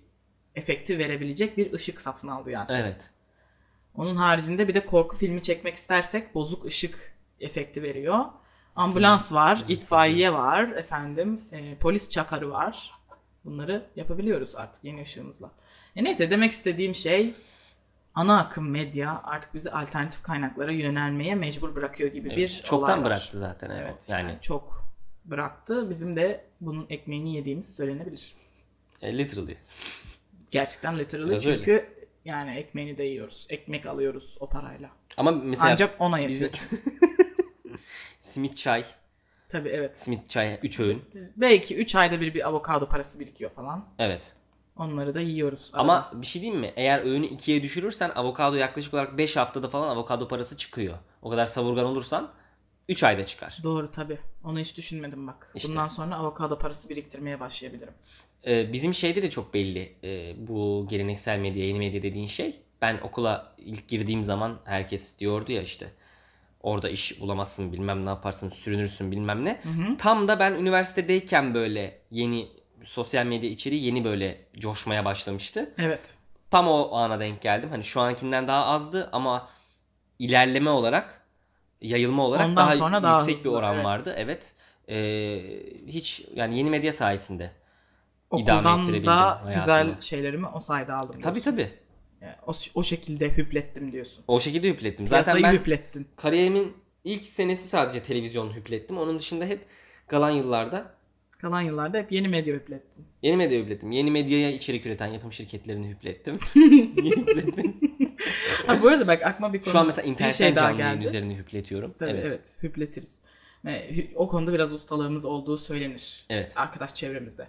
Speaker 1: efekti verebilecek bir ışık satın aldı yani.
Speaker 2: Evet.
Speaker 1: Onun haricinde bir de korku filmi çekmek istersek bozuk ışık efekti veriyor. Ambulans var,
Speaker 2: Zıt-
Speaker 1: itfaiye var, efendim e, polis çakarı var. Bunları yapabiliyoruz artık yeni ışığımızla. E neyse demek istediğim şey ana akım medya artık bizi alternatif kaynaklara yönelmeye mecbur bırakıyor gibi
Speaker 2: evet.
Speaker 1: bir olay
Speaker 2: Çoktan
Speaker 1: var.
Speaker 2: bıraktı zaten evet.
Speaker 1: Evet. Yani.
Speaker 2: Yani
Speaker 1: çok bıraktı. Bizim de bunun ekmeğini yediğimiz söylenebilir.
Speaker 2: e, literally.
Speaker 1: Gerçekten literally
Speaker 2: Biraz öyle.
Speaker 1: çünkü yani ekmeğini de yiyoruz. Ekmek alıyoruz o parayla.
Speaker 2: Ama mesela
Speaker 1: Ancak ona yapıyor.
Speaker 2: bizim simit çay,
Speaker 1: Tabii evet.
Speaker 2: simit çay 3 öğün.
Speaker 1: Belki 3 ayda bir bir avokado parası birikiyor falan.
Speaker 2: Evet.
Speaker 1: Onları da yiyoruz. arada.
Speaker 2: Ama bir şey diyeyim mi? Eğer öğünü ikiye düşürürsen avokado yaklaşık olarak 5 haftada falan avokado parası çıkıyor. O kadar savurgan olursan 3 ayda çıkar.
Speaker 1: Doğru tabii. Onu hiç düşünmedim bak.
Speaker 2: İşte.
Speaker 1: Bundan sonra avokado parası biriktirmeye başlayabilirim.
Speaker 2: Ee, bizim şeyde de çok belli ee, bu geleneksel medya, yeni medya dediğin şey. Ben okula ilk girdiğim zaman herkes diyordu ya işte orada iş bulamazsın bilmem ne yaparsın sürünürsün bilmem ne.
Speaker 1: Hı hı.
Speaker 2: Tam da ben üniversitedeyken böyle yeni sosyal medya içeriği yeni böyle coşmaya başlamıştı.
Speaker 1: Evet.
Speaker 2: Tam o ana denk geldim. Hani şu ankinden daha azdı ama ilerleme olarak, yayılma olarak
Speaker 1: Ondan
Speaker 2: daha
Speaker 1: sonra daha
Speaker 2: yüksek bir
Speaker 1: hızlı,
Speaker 2: oran
Speaker 1: evet.
Speaker 2: vardı. Evet. Ee, hiç yani yeni medya sayesinde. İdame
Speaker 1: Okuldan
Speaker 2: ettirebildim
Speaker 1: da
Speaker 2: hayatımı.
Speaker 1: güzel şeylerimi o sayede aldım.
Speaker 2: Tabii
Speaker 1: diyorsun.
Speaker 2: tabii.
Speaker 1: Yani o, o şekilde hüplettim diyorsun.
Speaker 2: O şekilde hüplettim.
Speaker 1: Zaten
Speaker 2: Zaten ben
Speaker 1: hüplettin.
Speaker 2: kariyerimin ilk senesi sadece televizyon hüplettim. Onun dışında hep kalan yıllarda
Speaker 1: Kalan yıllarda hep yeni medya hüplettin.
Speaker 2: yeni medya hüplettim. Yeni medyaya içerik üreten yapım şirketlerini hüplettim. Niye hüpletmedim?
Speaker 1: Ha, bu arada bak aklıma bir konu
Speaker 2: Şu an mesela
Speaker 1: bir
Speaker 2: internetten
Speaker 1: şey daha
Speaker 2: canlı yayın
Speaker 1: geldi.
Speaker 2: üzerine hüpletiyorum.
Speaker 1: Tabii, evet.
Speaker 2: evet. Evet.
Speaker 1: hüpletiriz. Ee, hü- o konuda biraz ustalığımız olduğu söylenir arkadaş çevremizde.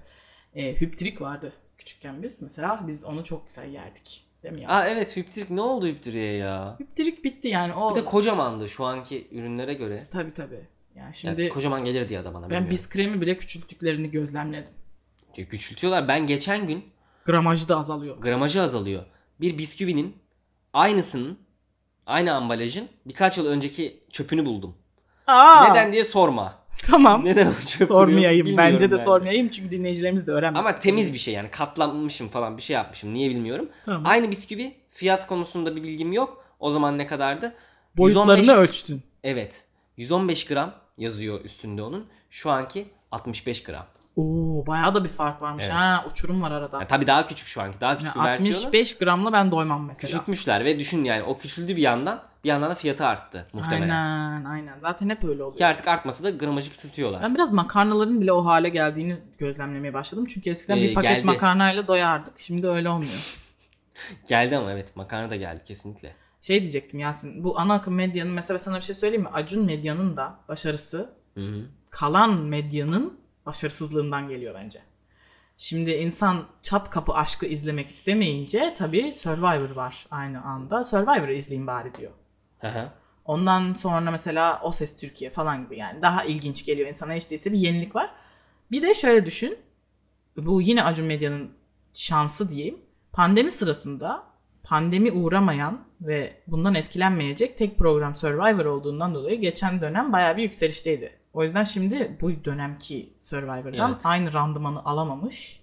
Speaker 1: Ee, hüptrik vardı küçükken biz mesela biz onu çok güzel yerdik. Değil mi ya?
Speaker 2: Aa evet hüptrik ne oldu hüptriye ya?
Speaker 1: Hüptrik bitti yani o.
Speaker 2: Bir de kocamandı şu anki ürünlere göre.
Speaker 1: Tabii tabii. Yani şimdi
Speaker 2: Şimdi kocaman gelir diye bana.
Speaker 1: ben
Speaker 2: Ben
Speaker 1: biskremi bile küçülttüklerini gözlemledim.
Speaker 2: Küçültüyorlar. Ben geçen gün
Speaker 1: Gramajı da azalıyor.
Speaker 2: gramajı azalıyor. Bir bisküvinin aynısının aynı ambalajın birkaç yıl önceki çöpünü buldum.
Speaker 1: Aa,
Speaker 2: Neden diye sorma.
Speaker 1: Tamam.
Speaker 2: Neden o çöp duruyor
Speaker 1: sormayayım.
Speaker 2: bilmiyorum
Speaker 1: Bence de
Speaker 2: ben
Speaker 1: sormayayım çünkü dinleyicilerimiz de öğrenmez.
Speaker 2: Ama temiz bir şey yani katlanmışım falan bir şey yapmışım niye bilmiyorum.
Speaker 1: Tamam.
Speaker 2: Aynı bisküvi fiyat konusunda bir bilgim yok. O zaman ne kadardı?
Speaker 1: Boyutlarını
Speaker 2: 115
Speaker 1: ölçtün.
Speaker 2: Evet 115 gram yazıyor üstünde onun. Şu anki 65 gram.
Speaker 1: Oo bayağı da bir fark varmış.
Speaker 2: Evet.
Speaker 1: Ha uçurum var arada.
Speaker 2: Yani tabii daha küçük şu anki daha küçük
Speaker 1: Yani
Speaker 2: bir versiyonu.
Speaker 1: 65 gramla ben doymam mesela.
Speaker 2: Küçültmüşler ve düşün yani o küçüldü bir yandan bir yandan da fiyatı arttı muhtemelen.
Speaker 1: Aynen aynen. Zaten hep öyle oluyor.
Speaker 2: Ki artık artmasa da gramajı küçültüyorlar.
Speaker 1: Ben biraz makarnaların bile o hale geldiğini gözlemlemeye başladım. Çünkü eskiden
Speaker 2: Ee,
Speaker 1: bir paket
Speaker 2: geldi.
Speaker 1: makarnayla doyardık. Şimdi öyle olmuyor.
Speaker 2: Geldi ama evet makarna da geldi kesinlikle.
Speaker 1: Şey diyecektim Yasin. Bu ana akım medyanın mesela sana bir şey söyleyeyim mi? Acun medyanın da başarısı
Speaker 2: Hı hı.
Speaker 1: kalan medyanın başarısızlığından geliyor bence. Şimdi insan çat kapı aşkı izlemek istemeyince tabii Survivor var aynı anda. Survivor'ı izleyeyim bari diyor.
Speaker 2: Hı hı.
Speaker 1: Ondan sonra mesela O Ses Türkiye falan gibi yani daha ilginç geliyor insana hiç değilse bir yenilik var. Bir de şöyle düşün. Bu yine Acun Medya'nın şansı diyeyim. Pandemi sırasında pandemi uğramayan ve bundan etkilenmeyecek tek program Survivor olduğundan dolayı geçen dönem bayağı bir yükselişteydi. O yüzden şimdi bu dönemki Survivor'dan
Speaker 2: Evet.
Speaker 1: aynı randımanı alamamış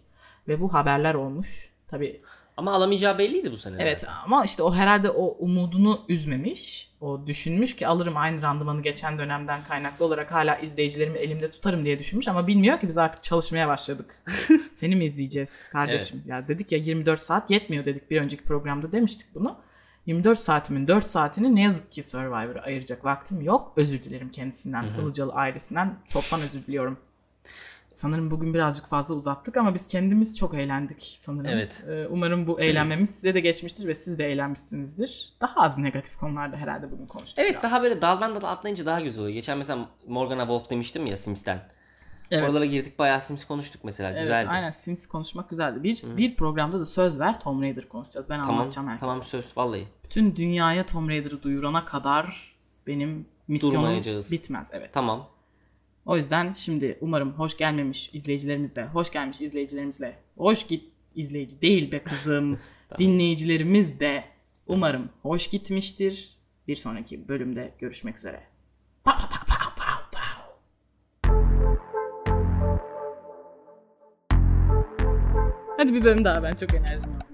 Speaker 1: ve bu haberler olmuş. Tabii
Speaker 2: Ama alamayacağı belliydi bu sene
Speaker 1: Evet
Speaker 2: zaten.
Speaker 1: ama işte o herhalde o umudunu üzmemiş. O düşünmüş ki alırım aynı randımanı geçen dönemden kaynaklı olarak hala izleyicilerimi elimde tutarım diye düşünmüş ama bilmiyor ki biz artık çalışmaya başladık. Seni mi izleyeceğiz kardeşim? Ya dedik ya 24 saat yetmiyor dedik bir önceki programda demiştik bunu. 24 saatimin 4 saatini ne yazık ki Survivor'a ayıracak vaktim yok. Özür dilerim kendisinden,
Speaker 2: Hı hı.
Speaker 1: Ilıcalı ailesinden. Çoktan özür diliyorum. Sanırım bugün birazcık fazla uzattık ama biz kendimiz çok eğlendik sanırım.
Speaker 2: Evet.
Speaker 1: Ee, Umarım bu eğlenmemiz size de geçmiştir ve siz de eğlenmişsinizdir. Daha az negatif konularda herhalde bugün konuştuk.
Speaker 2: Evet
Speaker 1: biraz.
Speaker 2: daha böyle daldan dala atlayınca daha güzel oluyor. Geçen mesela Morgana Wolf demiştim ya Sims'ten.
Speaker 1: evet.
Speaker 2: Oralara girdik bayağı Sims konuştuk mesela
Speaker 1: Evet,
Speaker 2: güzeldi.
Speaker 1: aynen Sims konuşmak güzeldi. Bir, bir programda da söz ver Tom Raider konuşacağız. Ben
Speaker 2: Tamam,
Speaker 1: anlatacağım herkese.
Speaker 2: tamam söz vallahi.
Speaker 1: Bütün dünyaya Tom Raider'ı duyurana kadar benim misyonum
Speaker 2: Durmayacağız.
Speaker 1: bitmez. Evet.
Speaker 2: Tamam.
Speaker 1: O yüzden şimdi umarım hoş gelmemiş izleyicilerimizle, hoş gelmiş izleyicilerimizle, hoş git izleyici değil be kızım, dinleyicilerimiz de umarım hoş gitmiştir. Bir sonraki bölümde görüşmek üzere. Pa, pa, pa, pa, pa, pa. Hadi bir bölüm daha ben çok enerjim var.